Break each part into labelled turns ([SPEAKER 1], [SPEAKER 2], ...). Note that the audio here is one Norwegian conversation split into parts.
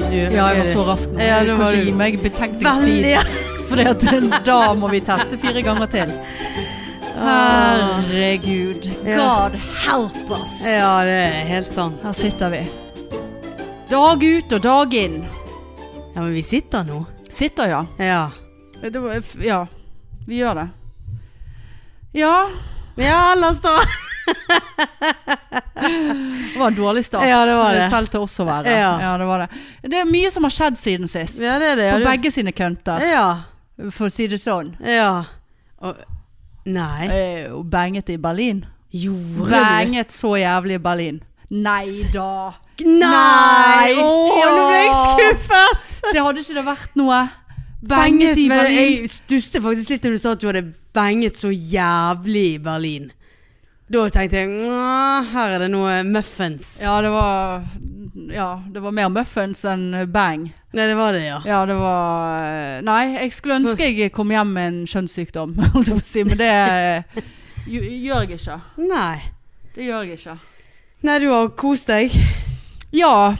[SPEAKER 1] var så rask. nå.
[SPEAKER 2] Ja, det
[SPEAKER 1] du kan
[SPEAKER 2] var
[SPEAKER 1] ikke
[SPEAKER 2] du.
[SPEAKER 1] gi meg
[SPEAKER 2] Veldig,
[SPEAKER 1] betenkningstid,
[SPEAKER 2] ja.
[SPEAKER 1] for da må vi teste fire ganger til. Herregud.
[SPEAKER 2] Ah. Ja.
[SPEAKER 1] God help us.
[SPEAKER 2] ja, det er helt sant.
[SPEAKER 1] Her sitter vi. Dag ut og dag inn.
[SPEAKER 2] Ja, men vi sitter nå.
[SPEAKER 1] Sitter, ja.
[SPEAKER 2] Ja.
[SPEAKER 1] Det var, ja, vi gjør det. Ja,
[SPEAKER 2] Ja, ellers da.
[SPEAKER 1] det var en dårlig start.
[SPEAKER 2] Ja, det var det.
[SPEAKER 1] Selv til oss å være.
[SPEAKER 2] Ja.
[SPEAKER 1] det, var det. det er mye som har skjedd siden sist.
[SPEAKER 2] Ja, det er det.
[SPEAKER 1] På
[SPEAKER 2] Ja, det-
[SPEAKER 1] begge sine kønter,
[SPEAKER 2] Ja.
[SPEAKER 1] for å si det sånn.
[SPEAKER 2] Ja. Og, nei.
[SPEAKER 1] Eh, og Banget i Berlin.
[SPEAKER 2] Gjorde du?
[SPEAKER 1] Banget så jævlig i Berlin. Nei da.
[SPEAKER 2] Nei! Å, nå ble jeg
[SPEAKER 1] Ja.
[SPEAKER 2] skuffet!
[SPEAKER 1] Det hadde ikke det vært noe.
[SPEAKER 2] Benget
[SPEAKER 1] Banget i
[SPEAKER 2] men
[SPEAKER 1] Berlin.
[SPEAKER 2] Jeg stusset faktisk litt da du sa at du hadde benget så jævlig i Berlin. Da tenkte jeg "Mwah, her er det noe muffins.
[SPEAKER 1] Ja, det var Ja, det var mer muffins enn bang.
[SPEAKER 2] Nei, det var det, ja.
[SPEAKER 1] Ja, det var Nei, jeg skulle ønske jeg kom hjem med en skjønnssykdom, holdt jeg på å si, men det eh, gj- gjør jeg ikke.
[SPEAKER 2] Nei.
[SPEAKER 1] Det gjør jeg ikke.
[SPEAKER 2] Nei, du har kost deg.
[SPEAKER 1] Ja,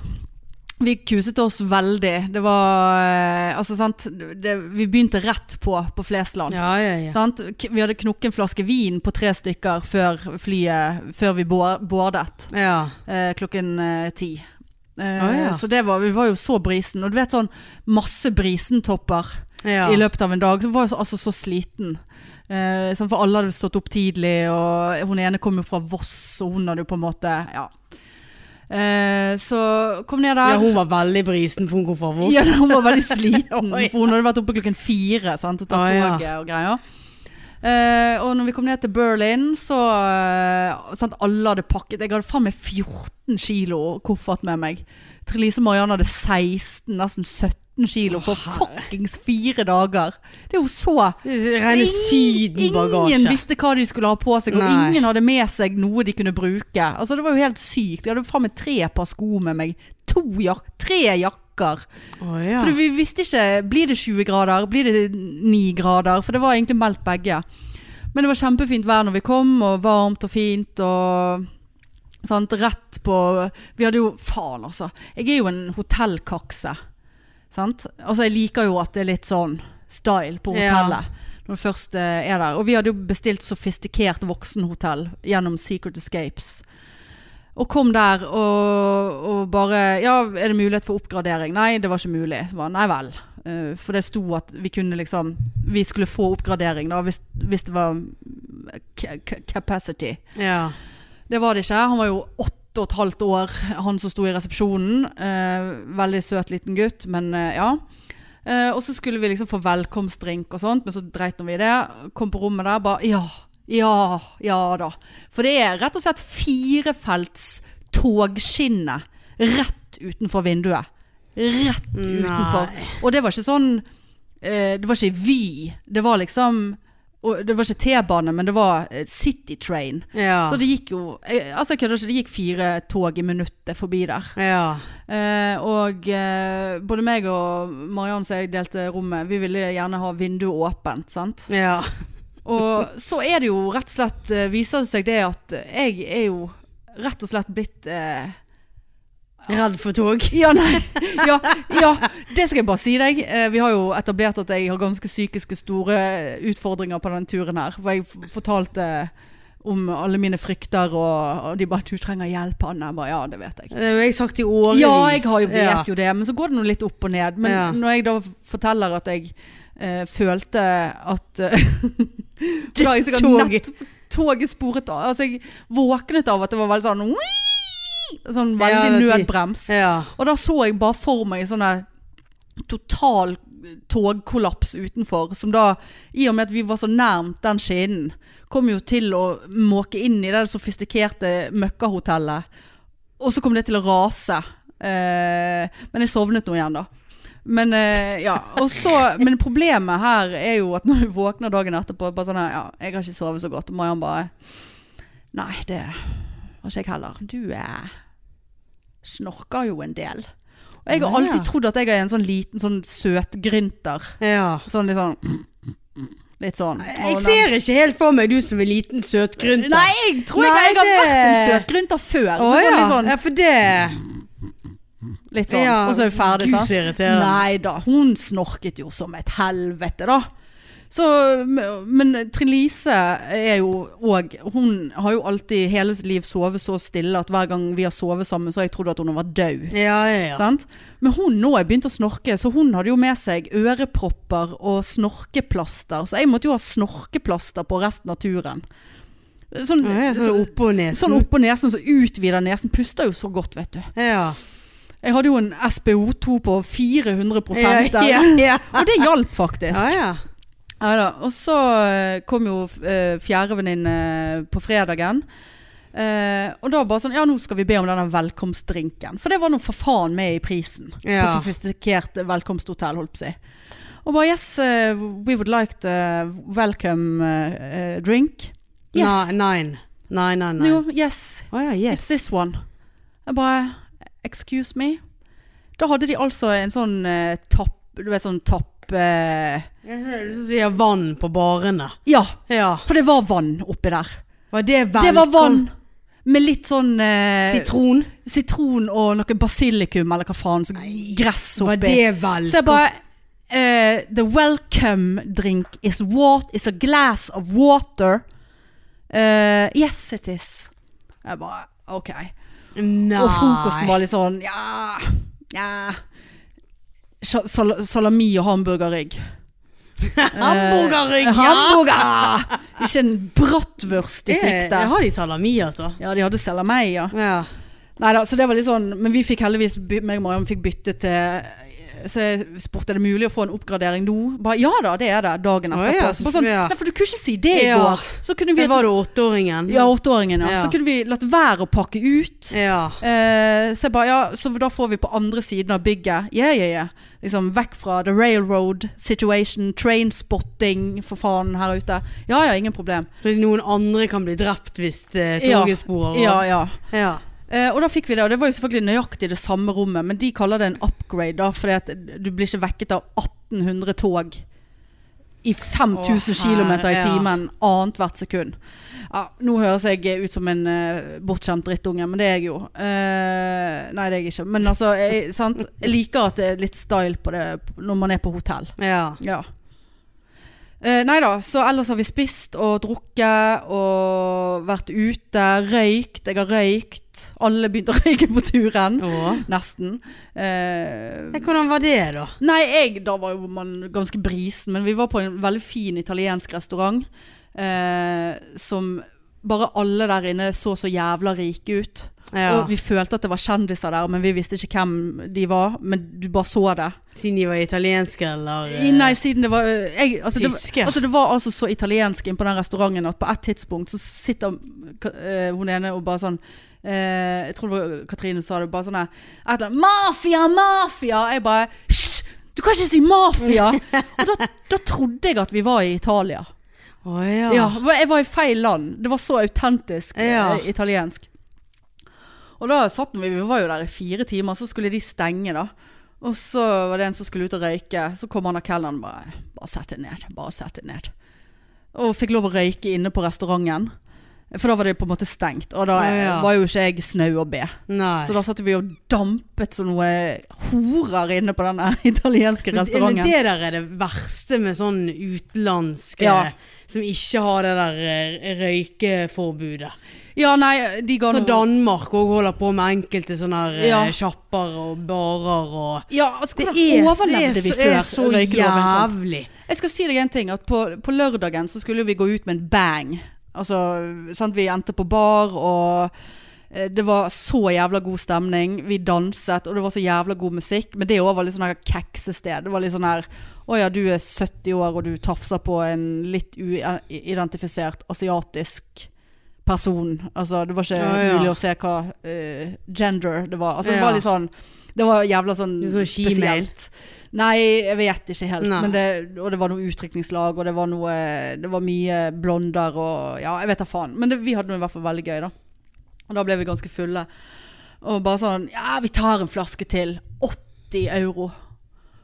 [SPEAKER 1] vi kuset oss veldig. Det var eh, Altså, sant, det, vi begynte rett på på Flesland.
[SPEAKER 2] Ja, ja, ja.
[SPEAKER 1] Sant? K- Vi hadde knukket en flaske vin på tre stykker før flyet, før vi bo- boardet
[SPEAKER 2] Ja.
[SPEAKER 1] eh, klokken eh, ti. Eh,
[SPEAKER 2] Å, ja.
[SPEAKER 1] Så det var, vi var jo så brisen. Og du vet sånn masse brisentopper.
[SPEAKER 2] ja.
[SPEAKER 1] i løpet av en dag. Så var jeg så- altså så sliten. Eh, sånn, for alle hadde stått opp tidlig, og hun ene kom jo fra Voss, og hun hadde jo på en måte Ja. Eh, så kom ned der.
[SPEAKER 2] ja, hun var veldig brisen, for hun kom fra Voss.
[SPEAKER 1] Ja, hun var veldig sliten.
[SPEAKER 2] Oi.
[SPEAKER 1] For hun hadde vært oppe klokken fire sant, og tatt
[SPEAKER 2] Å, ja.
[SPEAKER 1] toget og greier. Eh, og når vi kom ned til Berlin, så eh, sant, Alle hadde pakket. Jeg hadde faen meg 14 kilo koffert med meg. Trelise Marianne hadde 16, nesten 17 kilo for fuckings fire dager. Det er jo så
[SPEAKER 2] Rene sydenbagasje.
[SPEAKER 1] Ingen visste hva de skulle ha på seg, og
[SPEAKER 2] Nei.
[SPEAKER 1] ingen hadde med seg noe de kunne bruke. Altså, det var jo helt sykt. Jeg hadde jo faen meg tre par sko med meg. To jak tre jakker.
[SPEAKER 2] Å, ja.
[SPEAKER 1] For vi visste ikke Blir det 20 grader? Blir det 9 grader? For det var egentlig meldt begge. Men det var kjempefint vær når vi kom, og varmt og fint og sant? Rett på Vi hadde jo Faen, altså. Jeg er jo en hotellkakse. Sant? Altså, jeg liker jo at det er litt sånn style på
[SPEAKER 2] Ja.
[SPEAKER 1] hotellet. Når du først eh, er der. Og vi hadde jo bestilt sofistikert voksenhotell gjennom Secret Escapes. Og kom der og, og bare Ja, er det mulighet for oppgradering? Nei, det var ikke mulig. Så bare, nei vel. Eh, for det sto at vi kunne liksom Vi skulle få oppgradering da, hvis, hvis det var ca- ca- capacity.
[SPEAKER 2] ja.
[SPEAKER 1] Det var det ikke. Han var jo åtte og et halvt år, han som sto i resepsjonen. Eh, veldig søt liten gutt, men eh, ja. Eh, og så skulle vi liksom få velkomstdrink og sånt, men så dreit nå vi i det. Kom på rommet der, bare ja, ja, ja da. For det er rett og slett firefelts togskinne rett utenfor vinduet. Rett utenfor.
[SPEAKER 2] Nei.
[SPEAKER 1] Og det var ikke sånn eh, Det var ikke Vy. Det var liksom og Det var ikke T-bane, men det var eh, City Train.
[SPEAKER 2] Ja.
[SPEAKER 1] Så det gikk jo jeg, Altså jeg kødder ikke, det gikk fire tog i minuttet forbi der.
[SPEAKER 2] ja.
[SPEAKER 1] Eh, og eh, både meg og Marianne som jeg delte rommet, vi ville gjerne ha vinduet åpent, sant.
[SPEAKER 2] Ja.
[SPEAKER 1] Og så er det jo rett og slett eh, Viser det seg det at jeg er jo rett og slett blitt eh,
[SPEAKER 2] Redd for tog.
[SPEAKER 1] ja, nei. Ja, ja, det skal jeg bare si deg. Eh, Vi har jo etablert at jeg har ganske psykiske store utfordringer på den turen her. For jeg f- fortalte om alle mine frykter, og, og de bare 'Du trenger hjelp, Anne.' Jeg bare, ja, det vet jeg.
[SPEAKER 2] Det har jeg sagt i årevis.
[SPEAKER 1] Ja, jeg har jo vet
[SPEAKER 2] Ja.
[SPEAKER 1] jo det, men så går det nå litt opp og ned. Men
[SPEAKER 2] Ja.
[SPEAKER 1] når jeg da forteller at jeg eh, følte at eh, For da har jeg sikkert
[SPEAKER 2] Tog.
[SPEAKER 1] nett toget sporet av. Altså, jeg våknet av at det var veldig sånn Sånn
[SPEAKER 2] Ja,
[SPEAKER 1] veldig
[SPEAKER 2] det-
[SPEAKER 1] nødbrems.
[SPEAKER 2] Ja.
[SPEAKER 1] Og da så jeg bare for meg sånn der total togkollaps utenfor, som da, i og med at vi var så nærmt den skinnen, kom jo til å måke inn i det sofistikerte møkkahotellet. Og så kom det til å rase. Eh, men jeg sovnet nå igjen, da. Men, eh, ja. og så- men problemet her er jo at når du våkner dagen etterpå bare sånn her, ja, 'Jeg har ikke sovet så godt.' Og Mariann bare 'Nei, det har ikke jeg heller. Du eh, snorker jo en del.' Og jeg har
[SPEAKER 2] Ja.
[SPEAKER 1] alltid trodd at jeg er en sånn liten sånn søtgrynter.
[SPEAKER 2] ja.
[SPEAKER 1] Sånn litt sånn Litt sånn.
[SPEAKER 2] Jeg
[SPEAKER 1] Og
[SPEAKER 2] ser ikke helt for meg du som er liten søtgrynter.
[SPEAKER 1] Nei, jeg tror ikke
[SPEAKER 2] Nei,
[SPEAKER 1] jeg har vært
[SPEAKER 2] det-
[SPEAKER 1] en søtgrynter før.
[SPEAKER 2] Å
[SPEAKER 1] men sånn
[SPEAKER 2] ja.
[SPEAKER 1] litt sånn,
[SPEAKER 2] ja, for det
[SPEAKER 1] Litt sånn. og så er vi ferdig,
[SPEAKER 2] Gud,
[SPEAKER 1] sant?
[SPEAKER 2] så irriterende.
[SPEAKER 1] Nei da, hun snorket jo som et helvete, da. Så, men Trine Lise er jo òg Hun har jo alltid hele sitt liv sovet så stille at hver gang vi har sovet sammen, så har jeg trodd at hun var død.
[SPEAKER 2] Ja, ja, ja.
[SPEAKER 1] Sant? Men hun nå er begynt å snorke, så hun hadde jo med seg ørepropper og snorkeplaster. Så jeg måtte jo ha snorkeplaster på resten av turen. Sånn,
[SPEAKER 2] Ja, ja,
[SPEAKER 1] så,
[SPEAKER 2] Sånn oppå nesen.
[SPEAKER 1] sånn oppå nesen, så utvider nesen. Puster jo så godt, vet du.
[SPEAKER 2] Ja.
[SPEAKER 1] Jeg hadde jo en SPO2 på 400 der.
[SPEAKER 2] ja, ja.
[SPEAKER 1] Og det hjalp faktisk.
[SPEAKER 2] ja, ja.
[SPEAKER 1] Neida, Og så eh, kom jo eh, fjerdevenninne på fredagen. Eh, og da bare sånn Ja, nå skal vi be om denne velkomstdrinken. For det var nå for faen med i prisen. På
[SPEAKER 2] Ja.
[SPEAKER 1] sofistikert velkomsthotell, holdt på å si. Og bare Yes, eh, we would like the welcome eh, eh, drink. Yes.
[SPEAKER 2] Nei, nein. Nei, nei, nei.
[SPEAKER 1] Jo, yes.
[SPEAKER 2] Å ja,
[SPEAKER 1] It's
[SPEAKER 2] yes.
[SPEAKER 1] this one. Jeg bare Excuse me? Da hadde de altså en sånn eh, tapp Du vet sånn tapp eh,
[SPEAKER 2] sånn De har vann på barene.
[SPEAKER 1] Ja,
[SPEAKER 2] Ja.
[SPEAKER 1] for det var vann oppi der.
[SPEAKER 2] Var det vann?
[SPEAKER 1] Det var vann med litt sånn eh,
[SPEAKER 2] Sitron.
[SPEAKER 1] sitron og noe basilikum eller hva faen. Så gress
[SPEAKER 2] Var
[SPEAKER 1] oppi.
[SPEAKER 2] det vel?
[SPEAKER 1] Så jeg bare eh, The welcome drink is, wat is a glass of water. Eh, yes, it is. Jeg bare OK.
[SPEAKER 2] Nei.
[SPEAKER 1] Og frokosten var litt sånn ja, ja. Sja- Sal salami og hamburgerrygg.
[SPEAKER 2] Eh, Hamburgerrygg, ja!
[SPEAKER 1] Hamburger! Ikke en bratwurst i sikte.
[SPEAKER 2] Jeg har de salami, altså.
[SPEAKER 1] Ja, de hadde salami, ja.
[SPEAKER 2] Ja.
[SPEAKER 1] Nei da, så det var litt sånn Men vi fikk heldigvis by- meg og Mariam fikk bytte til Så jeg spurte er det mulig å få en oppgradering nå. Bare, ja da, det er det. Dagen
[SPEAKER 2] Å,
[SPEAKER 1] etterpå.
[SPEAKER 2] ja,
[SPEAKER 1] så bare sånn,
[SPEAKER 2] ja.
[SPEAKER 1] Nei, for du kunne ikke si det i
[SPEAKER 2] Ja.
[SPEAKER 1] går. Så kunne vi
[SPEAKER 2] Det var da åtteåringen.
[SPEAKER 1] Ja, åtteåringen, ja.
[SPEAKER 2] Ja.
[SPEAKER 1] Så kunne vi latt være å pakke ut.
[SPEAKER 2] Ja.
[SPEAKER 1] Eh, så jeg bare, ja, så da får vi på andre siden av bygget Ja, ja, ja Liksom vekk fra the railroad situation Train spotting, for faen her ute Ja, ja, ingen problem
[SPEAKER 2] Fordi noen andre kan bli drept hvis eh,
[SPEAKER 1] Ja.
[SPEAKER 2] toget sporer.
[SPEAKER 1] Ja, ja
[SPEAKER 2] ja. ja.
[SPEAKER 1] Eh, og da fikk vi det, og det var jo selvfølgelig nøyaktig det samme rommet, men de kaller det en upgrade da, fordi at du blir ikke vekket av 1800 tog i 5000
[SPEAKER 2] Å,
[SPEAKER 1] km i
[SPEAKER 2] ja.
[SPEAKER 1] timen annet hvert sekund. Ja, nå høres jeg ut som en eh, bortskjemt drittunge, men det er jeg jo. Eh, nei, det er jeg ikke. Men altså, jeg, sant? jeg liker at det er litt style på det når man er på hotell.
[SPEAKER 2] ja.
[SPEAKER 1] Ja. Eh, nei da, så ellers har vi spist og drukket og vært ute, røykt. Jeg har røykt. Alle begynte å røyke på turen.
[SPEAKER 2] Å.
[SPEAKER 1] Nesten. Eh,
[SPEAKER 2] Ja, Hvordan var det, da?
[SPEAKER 1] nei, jeg, da var jo man ganske brisen, men vi var på en veldig fin italiensk restaurant eh, som bare alle der inne så så jævla rike ut.
[SPEAKER 2] Ja.
[SPEAKER 1] Og vi følte at det var kjendiser der, men vi visste ikke hvem de var. Men du bare så det.
[SPEAKER 2] Siden de var italienske, eller eh,
[SPEAKER 1] I- Nei, siden det var øh, jeg, altså, det,
[SPEAKER 2] Tyske.
[SPEAKER 1] var- altså det var altså så italiensk inn på den restauranten at på et tidspunkt så sitter øh, hun ene og bare sånn øh, Jeg tror det var Katrine sa det, bare sånn her et eller annet, Mafia, mafia! Jeg bare Hysj! Du kan ikke si mafia! og da, da trodde jeg at vi var i Italia.
[SPEAKER 2] Å ja.
[SPEAKER 1] Ja, jeg var i feil land. Det var så autentisk eh,
[SPEAKER 2] Ja.
[SPEAKER 1] italiensk. Og da satt vi, vi var jo der i fire timer, så skulle de stenge da. Og så var det en som skulle ut og røyke, så kom han av kelleren og bare, bare sett det ned, bare sett det ned. Og fikk lov å røyke inne på restauranten. For da var det på en måte stengt, og da
[SPEAKER 2] Ja, ja.
[SPEAKER 1] var jo ikke jeg snau og be.
[SPEAKER 2] Nei.
[SPEAKER 1] Så da satt vi og dampet som noe horer inne på denne italienske
[SPEAKER 2] Men-
[SPEAKER 1] restauranten.
[SPEAKER 2] Men det der er det verste med sånn utenlandske
[SPEAKER 1] Ja.
[SPEAKER 2] som ikke har det der eh, røykeforbudet.
[SPEAKER 1] Ja, nei, de ga
[SPEAKER 2] Så
[SPEAKER 1] noe-
[SPEAKER 2] Danmark òg holder på med enkelte sånne her, eh,
[SPEAKER 1] Ja.
[SPEAKER 2] sjapper og barer og
[SPEAKER 1] Ja, altså,
[SPEAKER 2] Det
[SPEAKER 1] hvordan
[SPEAKER 2] er,
[SPEAKER 1] overlevde
[SPEAKER 2] det
[SPEAKER 1] vi
[SPEAKER 2] er,
[SPEAKER 1] før
[SPEAKER 2] så
[SPEAKER 1] røykeloven kom?
[SPEAKER 2] jævlig.
[SPEAKER 1] Jeg skal si deg en ting, at på, på lørdagen så skulle vi gå ut med en bang. Altså, sant? Vi endte på bar, og eh, det var så jævla god stemning. Vi danset, og det var så jævla god musikk. Men det òg var litt sånn her keksested. Det var litt sånn her Å ja, du er 70 år, og du tafser på en litt uidentifisert asiatisk person. Altså, det var ikke
[SPEAKER 2] Ja, ja.
[SPEAKER 1] mulig å se hva eh, gender det var. Altså, det
[SPEAKER 2] Ja.
[SPEAKER 1] var litt sånn Det var jævla sånn
[SPEAKER 2] Litt sånn shemale.
[SPEAKER 1] spesielt. Nei, jeg vet ikke helt.
[SPEAKER 2] Nei.
[SPEAKER 1] Men det, og det var noe utdrikningslag, og det var, noe, det var mye blonder og Ja, jeg vet da faen. Men det, vi hadde det i hvert fall veldig gøy, da. Og da ble vi ganske fulle. Og bare sånn Ja, vi tar en flaske til. 80 euro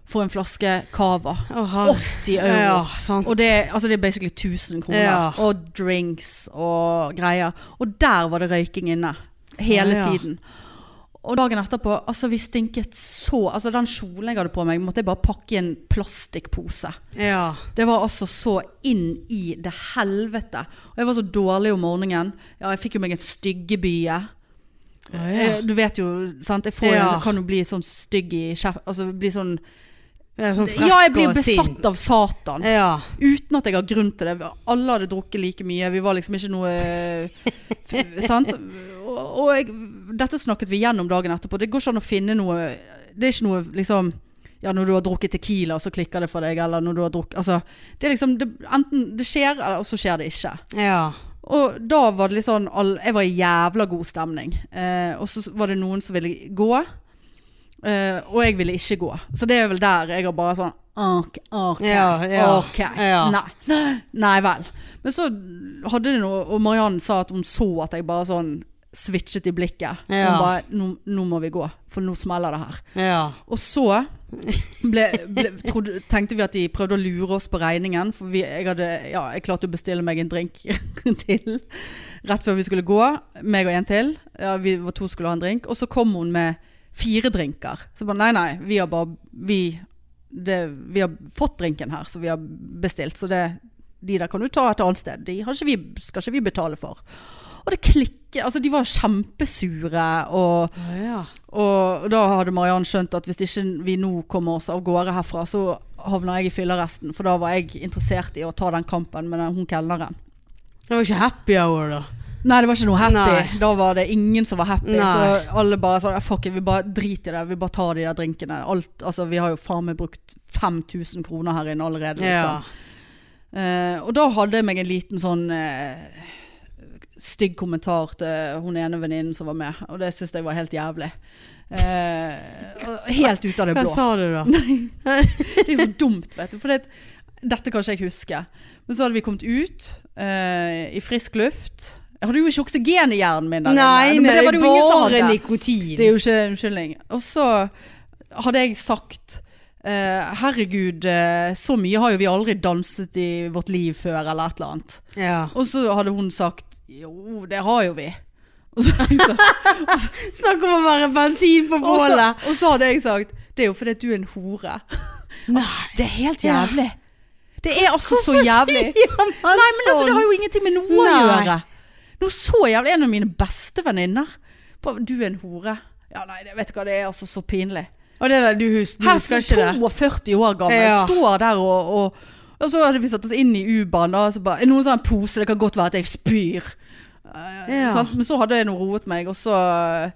[SPEAKER 1] for en flaske Cava.
[SPEAKER 2] Å, herre.
[SPEAKER 1] 80 euro.
[SPEAKER 2] Ja, sant.
[SPEAKER 1] Og det, altså det er basically 1000 kroner.
[SPEAKER 2] Ja.
[SPEAKER 1] Og drinks og greier. Og der var det røyking inne. Hele
[SPEAKER 2] Ja, ja.
[SPEAKER 1] tiden. Og dagen etterpå, altså vi stinket så Altså den kjolen jeg hadde på meg, måtte jeg bare pakke i en plastikkpose.
[SPEAKER 2] Ja.
[SPEAKER 1] Det var altså så inn i det helvete. Og jeg var så dårlig om morgenen. Ja, jeg fikk jo meg en styggebye. Eh, Du vet jo, sant. Jeg får,
[SPEAKER 2] Ja.
[SPEAKER 1] jo- kan jo bli sånn stygg i kjeft Altså bli sånn
[SPEAKER 2] Jeg er sånn frekk
[SPEAKER 1] Ja, jeg blir
[SPEAKER 2] og sint.
[SPEAKER 1] besatt av Satan.
[SPEAKER 2] Ja.
[SPEAKER 1] Uten at jeg har grunn til det. Alle hadde drukket like mye. Vi var liksom ikke noe f- Sant? Og, og jeg, dette snakket vi gjennom dagen etterpå. Det går ikke an å finne noe Det er ikke noe liksom ja, når du har drukket Tequila, så klikker det for deg. Eller når du har drukket Altså, det er liksom det, Enten det skjer, eller så skjer det ikke.
[SPEAKER 2] Ja.
[SPEAKER 1] Og da var det litt sånn all, Jeg var i jævla god stemning. Eh, og så var det noen som ville gå, eh, og jeg ville ikke gå. Så det er vel der jeg har bare sånn Ok, ok,
[SPEAKER 2] Ja, ja,
[SPEAKER 1] ok.
[SPEAKER 2] ja.
[SPEAKER 1] Nei. Nei vel. Men så hadde det noe Og Marianne sa at hun så at jeg bare sånn switchet i blikket.
[SPEAKER 2] Ja.
[SPEAKER 1] Hun bare nå, 'Nå må vi gå, for nå smeller det her'.
[SPEAKER 2] Ja.
[SPEAKER 1] Og så ble, ble, trodde, tenkte vi at de prøvde å lure oss på regningen, for vi, jeg, hadde, ja, jeg klarte å bestille meg en drink til rett før vi skulle gå. Meg og en til. Ja, vi var to skulle ha en drink. Og så kom hun med fire drinker. Så jeg bare nei, nei, vi har bare vi, det, vi har fått drinken her, så vi har bestilt. Så det, de der kan du ta et annet sted. De har ikke vi, skal ikke vi betale for. Og det klikker. Altså, de var kjempesure og
[SPEAKER 2] Å, ja.
[SPEAKER 1] og da hadde Mariann skjønt at hvis ikke vi nå kommer oss av gårde herfra, så havner jeg i fylleresten. For da var jeg interessert i å ta den kampen med den, hun kelneren.
[SPEAKER 2] Det var ikke happy hour, da.
[SPEAKER 1] Nei, det var ikke noe happy.
[SPEAKER 2] Nei.
[SPEAKER 1] Da var det ingen som var happy.
[SPEAKER 2] Nei.
[SPEAKER 1] Så alle bare sa fuck it, vi bare driter i det. Vi bare tar de der drinkene. Alt, altså, vi har jo faen meg brukt 5000 kroner her inne allerede.
[SPEAKER 2] Ja.
[SPEAKER 1] Liksom. Eh, og da hadde jeg meg en liten sånn eh, stygg kommentar til hun ene venninnen som var med. Og det syns jeg var helt jævlig. Eh, og helt ut av det
[SPEAKER 2] Hva
[SPEAKER 1] blå.
[SPEAKER 2] sa du, da?
[SPEAKER 1] Det er jo dumt, vet du. For det, dette kan ikke jeg huske. Men så hadde vi kommet ut eh, i frisk luft. Jeg hadde jo ikke oksygen i hjernen min. der
[SPEAKER 2] Nei,
[SPEAKER 1] inne, men
[SPEAKER 2] nei,
[SPEAKER 1] det var det jo ingen som
[SPEAKER 2] bare
[SPEAKER 1] hadde.
[SPEAKER 2] nikotin.
[SPEAKER 1] Det er jo ikke en unnskyldning. Og så hadde jeg sagt eh, herregud, eh, så mye har jo vi aldri danset i vårt liv før, eller et eller annet.
[SPEAKER 2] ja.
[SPEAKER 1] Og så hadde hun sagt jo, det har jo vi. Og så, og så,
[SPEAKER 2] Snakk om å være bensin på bålet.
[SPEAKER 1] og så hadde jeg sagt det er jo fordi at du er en hore.
[SPEAKER 2] Nei.
[SPEAKER 1] Det er helt jævlig. Det er altså så jævlig.
[SPEAKER 2] Ja, men
[SPEAKER 1] Nei, men altså, det har jo ingenting med noe å
[SPEAKER 2] sånn? Nei.
[SPEAKER 1] gjøre. Noe så jævlig. En av mine beste venninner. Bare, Du er en hore. Ja, nei, det, vet du hva, det er altså så pinlig.
[SPEAKER 2] Og det der, du hus- du
[SPEAKER 1] Her
[SPEAKER 2] husker ikke det?
[SPEAKER 1] 42 år gammel,
[SPEAKER 2] Ja.
[SPEAKER 1] står der og, og Og så hadde vi satt oss inn i U-banen, og så bare "Er det Noen sånn pose, det kan godt være at jeg spyr. Eh,
[SPEAKER 2] Ja.
[SPEAKER 1] sant? Men så hadde jeg nå roet meg, og så eh,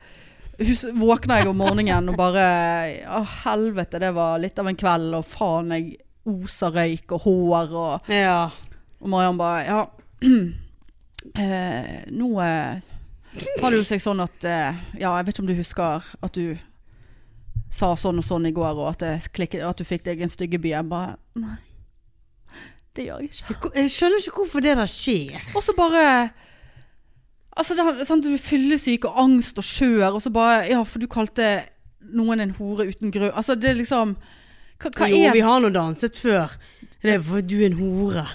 [SPEAKER 1] hus våkna jeg om morgenen og bare Å, helvete, det var litt av en kveld, og faen, jeg oser røyk og hår og
[SPEAKER 2] Ja.
[SPEAKER 1] og Mariann bare Ja, eh, nå eh, har det jo seg sånn at eh, Ja, jeg vet ikke om du husker at du sa sånn og sånn i går, og at, jeg klikket, at du fikk deg en styggebye. Jeg bare Nei. Det gjør jeg ikke.
[SPEAKER 2] Jeg ko- Jeg skjønner ikke hvorfor det der skjer.
[SPEAKER 1] Og så bare Altså, det, er sant, du er fyllesyk og angst og skjør, og så bare Ja, for du kalte noen en hore uten grunn. Altså, det er liksom Hva, hva
[SPEAKER 2] jo,
[SPEAKER 1] er
[SPEAKER 2] vi har nå danset før. Det er for du er en hore.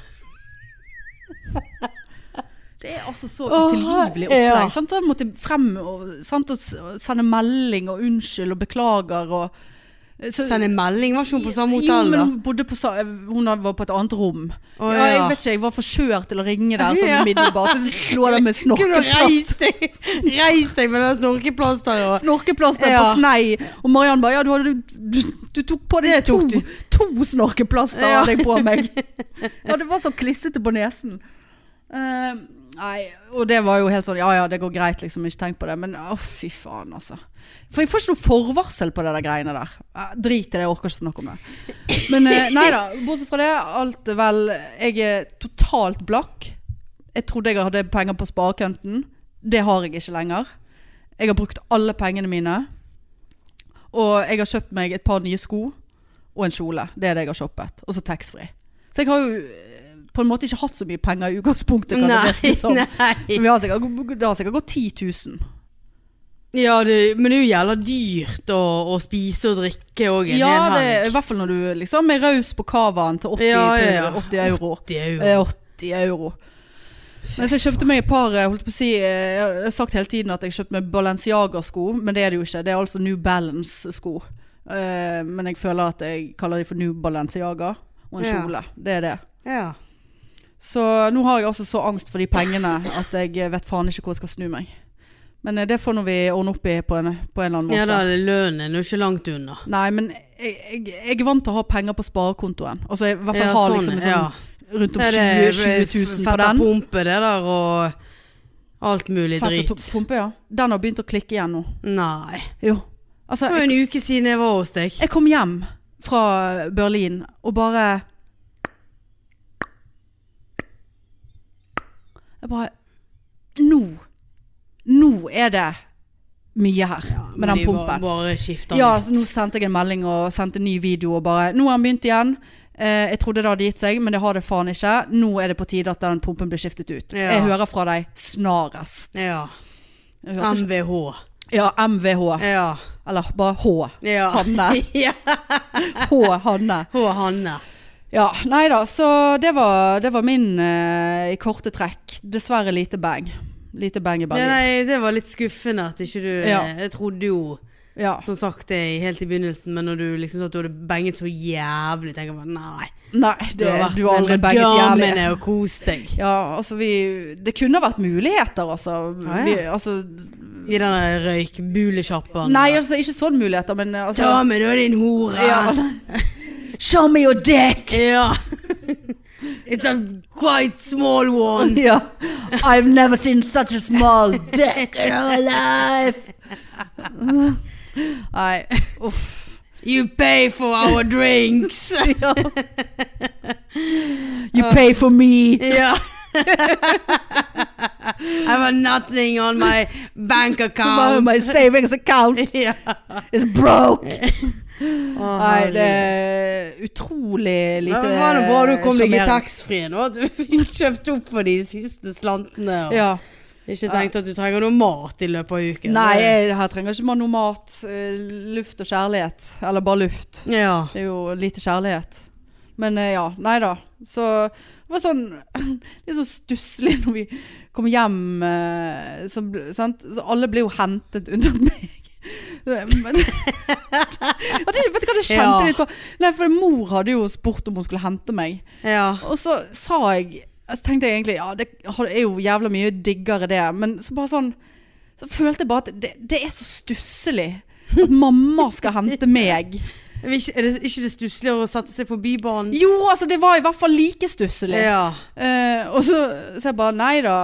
[SPEAKER 1] Det er altså så
[SPEAKER 2] Åh,
[SPEAKER 1] utilgivelig
[SPEAKER 2] ja.
[SPEAKER 1] opplegg. Sant? Han måtte frem og, sant? og s- og sende melding og unnskyld og beklager og eh, så,
[SPEAKER 2] Sende melding, var ikke hun på samme
[SPEAKER 1] Jo,
[SPEAKER 2] hotell
[SPEAKER 1] men
[SPEAKER 2] da?
[SPEAKER 1] hun bodde på sa- Hun var på et annet rom.
[SPEAKER 2] Å,
[SPEAKER 1] ja, jeg
[SPEAKER 2] ja.
[SPEAKER 1] vet ikke, jeg var for skjør til å ringe der sånn
[SPEAKER 2] Ja.
[SPEAKER 1] umiddelbart. Så lå der med
[SPEAKER 2] Kunne du
[SPEAKER 1] snorkeplast.
[SPEAKER 2] reist deg, reist deg med det snorkeplasteret og
[SPEAKER 1] Snorkeplaster
[SPEAKER 2] Ja.
[SPEAKER 1] på snei. Og Mariann bare Ja, du, hadde, du, du tok på deg
[SPEAKER 2] Det
[SPEAKER 1] to,
[SPEAKER 2] tok du.
[SPEAKER 1] to snorkeplaster
[SPEAKER 2] Ja.
[SPEAKER 1] hadde jeg på meg. Ja, det var så klissete på nesen. Eh, nei, og det var jo helt sånn Ja ja, det går greit, liksom. Ikke tenk på det. Men å, fy faen, altså. For jeg får ikke noe forvarsel på det der greiene der. Eh, Drit i det, jeg orker ikke snakke om det. Men eh, nei da. Bortsett fra det, alt er vel Jeg er totalt blakk. Jeg trodde jeg hadde penger på sparekonten. Det har jeg ikke lenger. Jeg har brukt alle pengene mine. Og jeg har kjøpt meg et par nye sko og en kjole. Det er det jeg har shoppet. Og så taxfree. Så jeg har jo eh, på en måte ikke hatt så mye penger i utgangspunktet. Kan det virke som.
[SPEAKER 2] nei.
[SPEAKER 1] Men vi har sikkert, det har sikkert gått 10 000.
[SPEAKER 2] Ja, det, men det er jo jævla dyrt å, å spise og drikke òg en
[SPEAKER 1] Ja,
[SPEAKER 2] hel
[SPEAKER 1] det, i
[SPEAKER 2] helg.
[SPEAKER 1] hvert fall når du liksom er raus på cavaen til 80,
[SPEAKER 2] Ja, ja, ja.
[SPEAKER 1] pund- 80 euro.
[SPEAKER 2] Det er jo
[SPEAKER 1] Eh, 80 euro. Men så jeg kjøpte meg et par eh, holdt på å si, eh, Jeg har sagt hele tiden at jeg kjøpte meg Balenciaga-sko, men det er det jo ikke. Det er altså New Balance-sko. Eh, men jeg føler at jeg kaller de for New Balenciaga og en
[SPEAKER 2] Ja.
[SPEAKER 1] kjole. Det er det.
[SPEAKER 2] Ja.
[SPEAKER 1] Så nå har jeg altså så angst for de pengene at jeg eh, vet faen ikke hvor jeg skal snu meg. Men eh, det får nå vi ordne opp i på en, på en eller annen måte.
[SPEAKER 2] ja da, er det lønnen er jo ikke langt unna.
[SPEAKER 1] Nei, men jeg, jeg, jeg er vant til å ha penger på sparekontoen. Altså jeg i hvert fall
[SPEAKER 2] Ja,
[SPEAKER 1] har liksom en sånn
[SPEAKER 2] ja.
[SPEAKER 1] rundt om
[SPEAKER 2] Ja,
[SPEAKER 1] 20,
[SPEAKER 2] det
[SPEAKER 1] 20 000 på
[SPEAKER 2] fett å
[SPEAKER 1] den.
[SPEAKER 2] pumpe det der og alt mulig
[SPEAKER 1] Fett å
[SPEAKER 2] drit.
[SPEAKER 1] to- pumpe, ja. Den har begynt å klikke igjen nå.
[SPEAKER 2] Nei.
[SPEAKER 1] Jo. Altså,
[SPEAKER 2] Det var
[SPEAKER 1] jeg,
[SPEAKER 2] jo en uke siden jeg var hos deg.
[SPEAKER 1] jeg kom hjem fra Berlin og bare Jeg bare Nå! Nå er det mye her med den
[SPEAKER 2] de
[SPEAKER 1] pumpen.
[SPEAKER 2] Bare, bare skifter
[SPEAKER 1] Ja,
[SPEAKER 2] litt.
[SPEAKER 1] så nå sendte jeg en melding og sendte ny video og bare Nå har han begynt igjen. Eh, jeg trodde det hadde gitt seg, men det har det faen ikke. Nå er det på tide at den pumpen blir skiftet ut.
[SPEAKER 2] Ja.
[SPEAKER 1] Jeg hører fra deg snarest.
[SPEAKER 2] Ja.
[SPEAKER 1] Jeg hørte ikke-
[SPEAKER 2] MVH.
[SPEAKER 1] Ja, MVH.
[SPEAKER 2] Ja.
[SPEAKER 1] Eller bare H.
[SPEAKER 2] ja.
[SPEAKER 1] Hanne.
[SPEAKER 2] Ja.
[SPEAKER 1] H. Hanne.
[SPEAKER 2] H. Hanne.
[SPEAKER 1] Ja, nei da. Så det var, det var min eh, i korte trekk. Dessverre lite bang. Lite bang i
[SPEAKER 2] Ja,
[SPEAKER 1] Berlin.
[SPEAKER 2] nei, det var litt skuffende at ikke du
[SPEAKER 1] Ja.
[SPEAKER 2] Jeg trodde jo
[SPEAKER 1] Ja.
[SPEAKER 2] som sagt det helt i begynnelsen, men når du liksom sa at du hadde benget så jævlig, tenker jeg bare nei.
[SPEAKER 1] Nei,
[SPEAKER 2] Du har
[SPEAKER 1] det,
[SPEAKER 2] vært
[SPEAKER 1] du har aldri
[SPEAKER 2] med
[SPEAKER 1] banget jævlig.
[SPEAKER 2] damene og kost deg.
[SPEAKER 1] Ja, altså vi Det kunne vært muligheter, altså.
[SPEAKER 2] Ja, ja.
[SPEAKER 1] Vi, altså
[SPEAKER 2] I den der røykbulesjappaen.
[SPEAKER 1] Nei, altså ikke sånn muligheter, men eh, altså
[SPEAKER 2] Ta med da, din hore!
[SPEAKER 1] Ja. Show me your dick!
[SPEAKER 2] Ja. It's a quite small one.
[SPEAKER 1] Ja. I've never seen such a small dick in my life! Nei, uff.
[SPEAKER 2] You pay for our drinks.
[SPEAKER 1] Ja. You pay for me!
[SPEAKER 2] ja. I have nothing on my bank
[SPEAKER 1] My,
[SPEAKER 2] account.
[SPEAKER 1] my savings account
[SPEAKER 2] ja.
[SPEAKER 1] is broke! Nei, det er utrolig
[SPEAKER 2] Ja,
[SPEAKER 1] lite
[SPEAKER 2] men det var det bra du kom deg i
[SPEAKER 1] sjarmerende.
[SPEAKER 2] taxfree nå. At du fikk kjøpt opp for de siste slantene. Og
[SPEAKER 1] Ja.
[SPEAKER 2] Ikke tenkt at du trenger noe mat i løpet av uken.
[SPEAKER 1] Nei, jeg, her trenger ikke man noe mat. eh, Luft og kjærlighet. Eller bare luft.
[SPEAKER 2] Ja.
[SPEAKER 1] Det er jo lite kjærlighet. Men eh, ja, nei da. Så det var sånn litt sånn stusslig når vi kom hjem. eh, Så, bl- sant? så alle ble jo hentet unntatt meg. Men- Og det, vet du hva det kjente
[SPEAKER 2] Ja.
[SPEAKER 1] jeg litt på? Nei, for mor hadde jo spurt om hun skulle hente meg.
[SPEAKER 2] Ja.
[SPEAKER 1] Og så sa jeg Så tenkte jeg egentlig Ja, det er jo jævla mye diggere det Men så bare sånn Så følte jeg bare at det, det er så stusselig At mamma skal hente meg
[SPEAKER 2] Er det ikke det stussligere å sette seg på Bybanen?
[SPEAKER 1] Jo, altså det var i hvert fall like stusselig
[SPEAKER 2] Ja.
[SPEAKER 1] Eh, Og så, så jeg bare Nei da,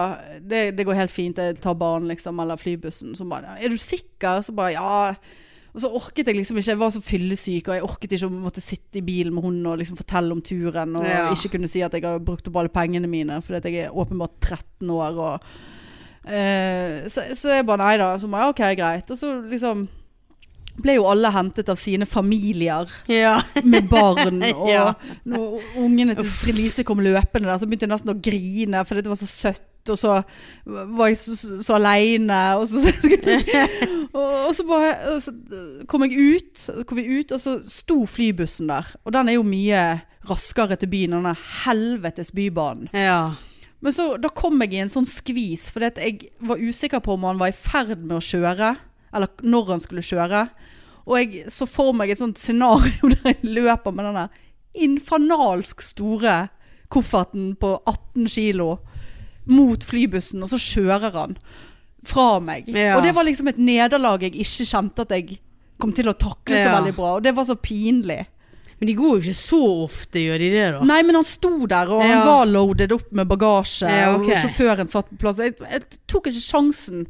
[SPEAKER 1] det, det går helt fint Jeg tar barn liksom, eller flybussen Så bare, er du sikker? Så bare, ja Og så orket jeg liksom ikke, jeg var så fyllesyk Og jeg orket ikke å måtte sitte i bilen med hun Og liksom fortelle om turen Og
[SPEAKER 2] Ja.
[SPEAKER 1] ikke kunne si at jeg hadde brukt opp alle pengene mine Fordi at jeg er åpenbart 13 år og, eh, så, så jeg bare, nei da Så bare, ja, ok, greit Og så liksom ble jo alle hentet av sine familier
[SPEAKER 2] Ja.
[SPEAKER 1] med barn. Og
[SPEAKER 2] Ja.
[SPEAKER 1] når ungene til Trine Lise kom løpende der, så begynte jeg nesten å grine, for det var så søtt. Og så var jeg så, så, så aleine. Og, så- og, og så bare og så kom jeg ut, så kom vi ut, og så sto flybussen der. Og den er jo mye raskere til byen enn den helvetes bybanen.
[SPEAKER 2] Ja.
[SPEAKER 1] Men så, da kom jeg i en sånn skvis, fordi at jeg var usikker på om han var i ferd med å kjøre, eller når han skulle kjøre. Og jeg så for meg et sånt scenario der jeg løper med denne infernalsk store kofferten på 18 kilo mot flybussen, og så kjører han fra meg.
[SPEAKER 2] Ja.
[SPEAKER 1] Og det var liksom et nederlag jeg ikke kjente at jeg kom til å takle så
[SPEAKER 2] Ja.
[SPEAKER 1] veldig bra, og det var så pinlig.
[SPEAKER 2] Men de går jo ikke så ofte, gjør de det da?
[SPEAKER 1] Nei, men han sto der, og
[SPEAKER 2] Ja.
[SPEAKER 1] han var loaded opp med bagasje.
[SPEAKER 2] Ja, ok.
[SPEAKER 1] Og sjåføren satt på plass. Jeg, jeg tok ikke sjansen.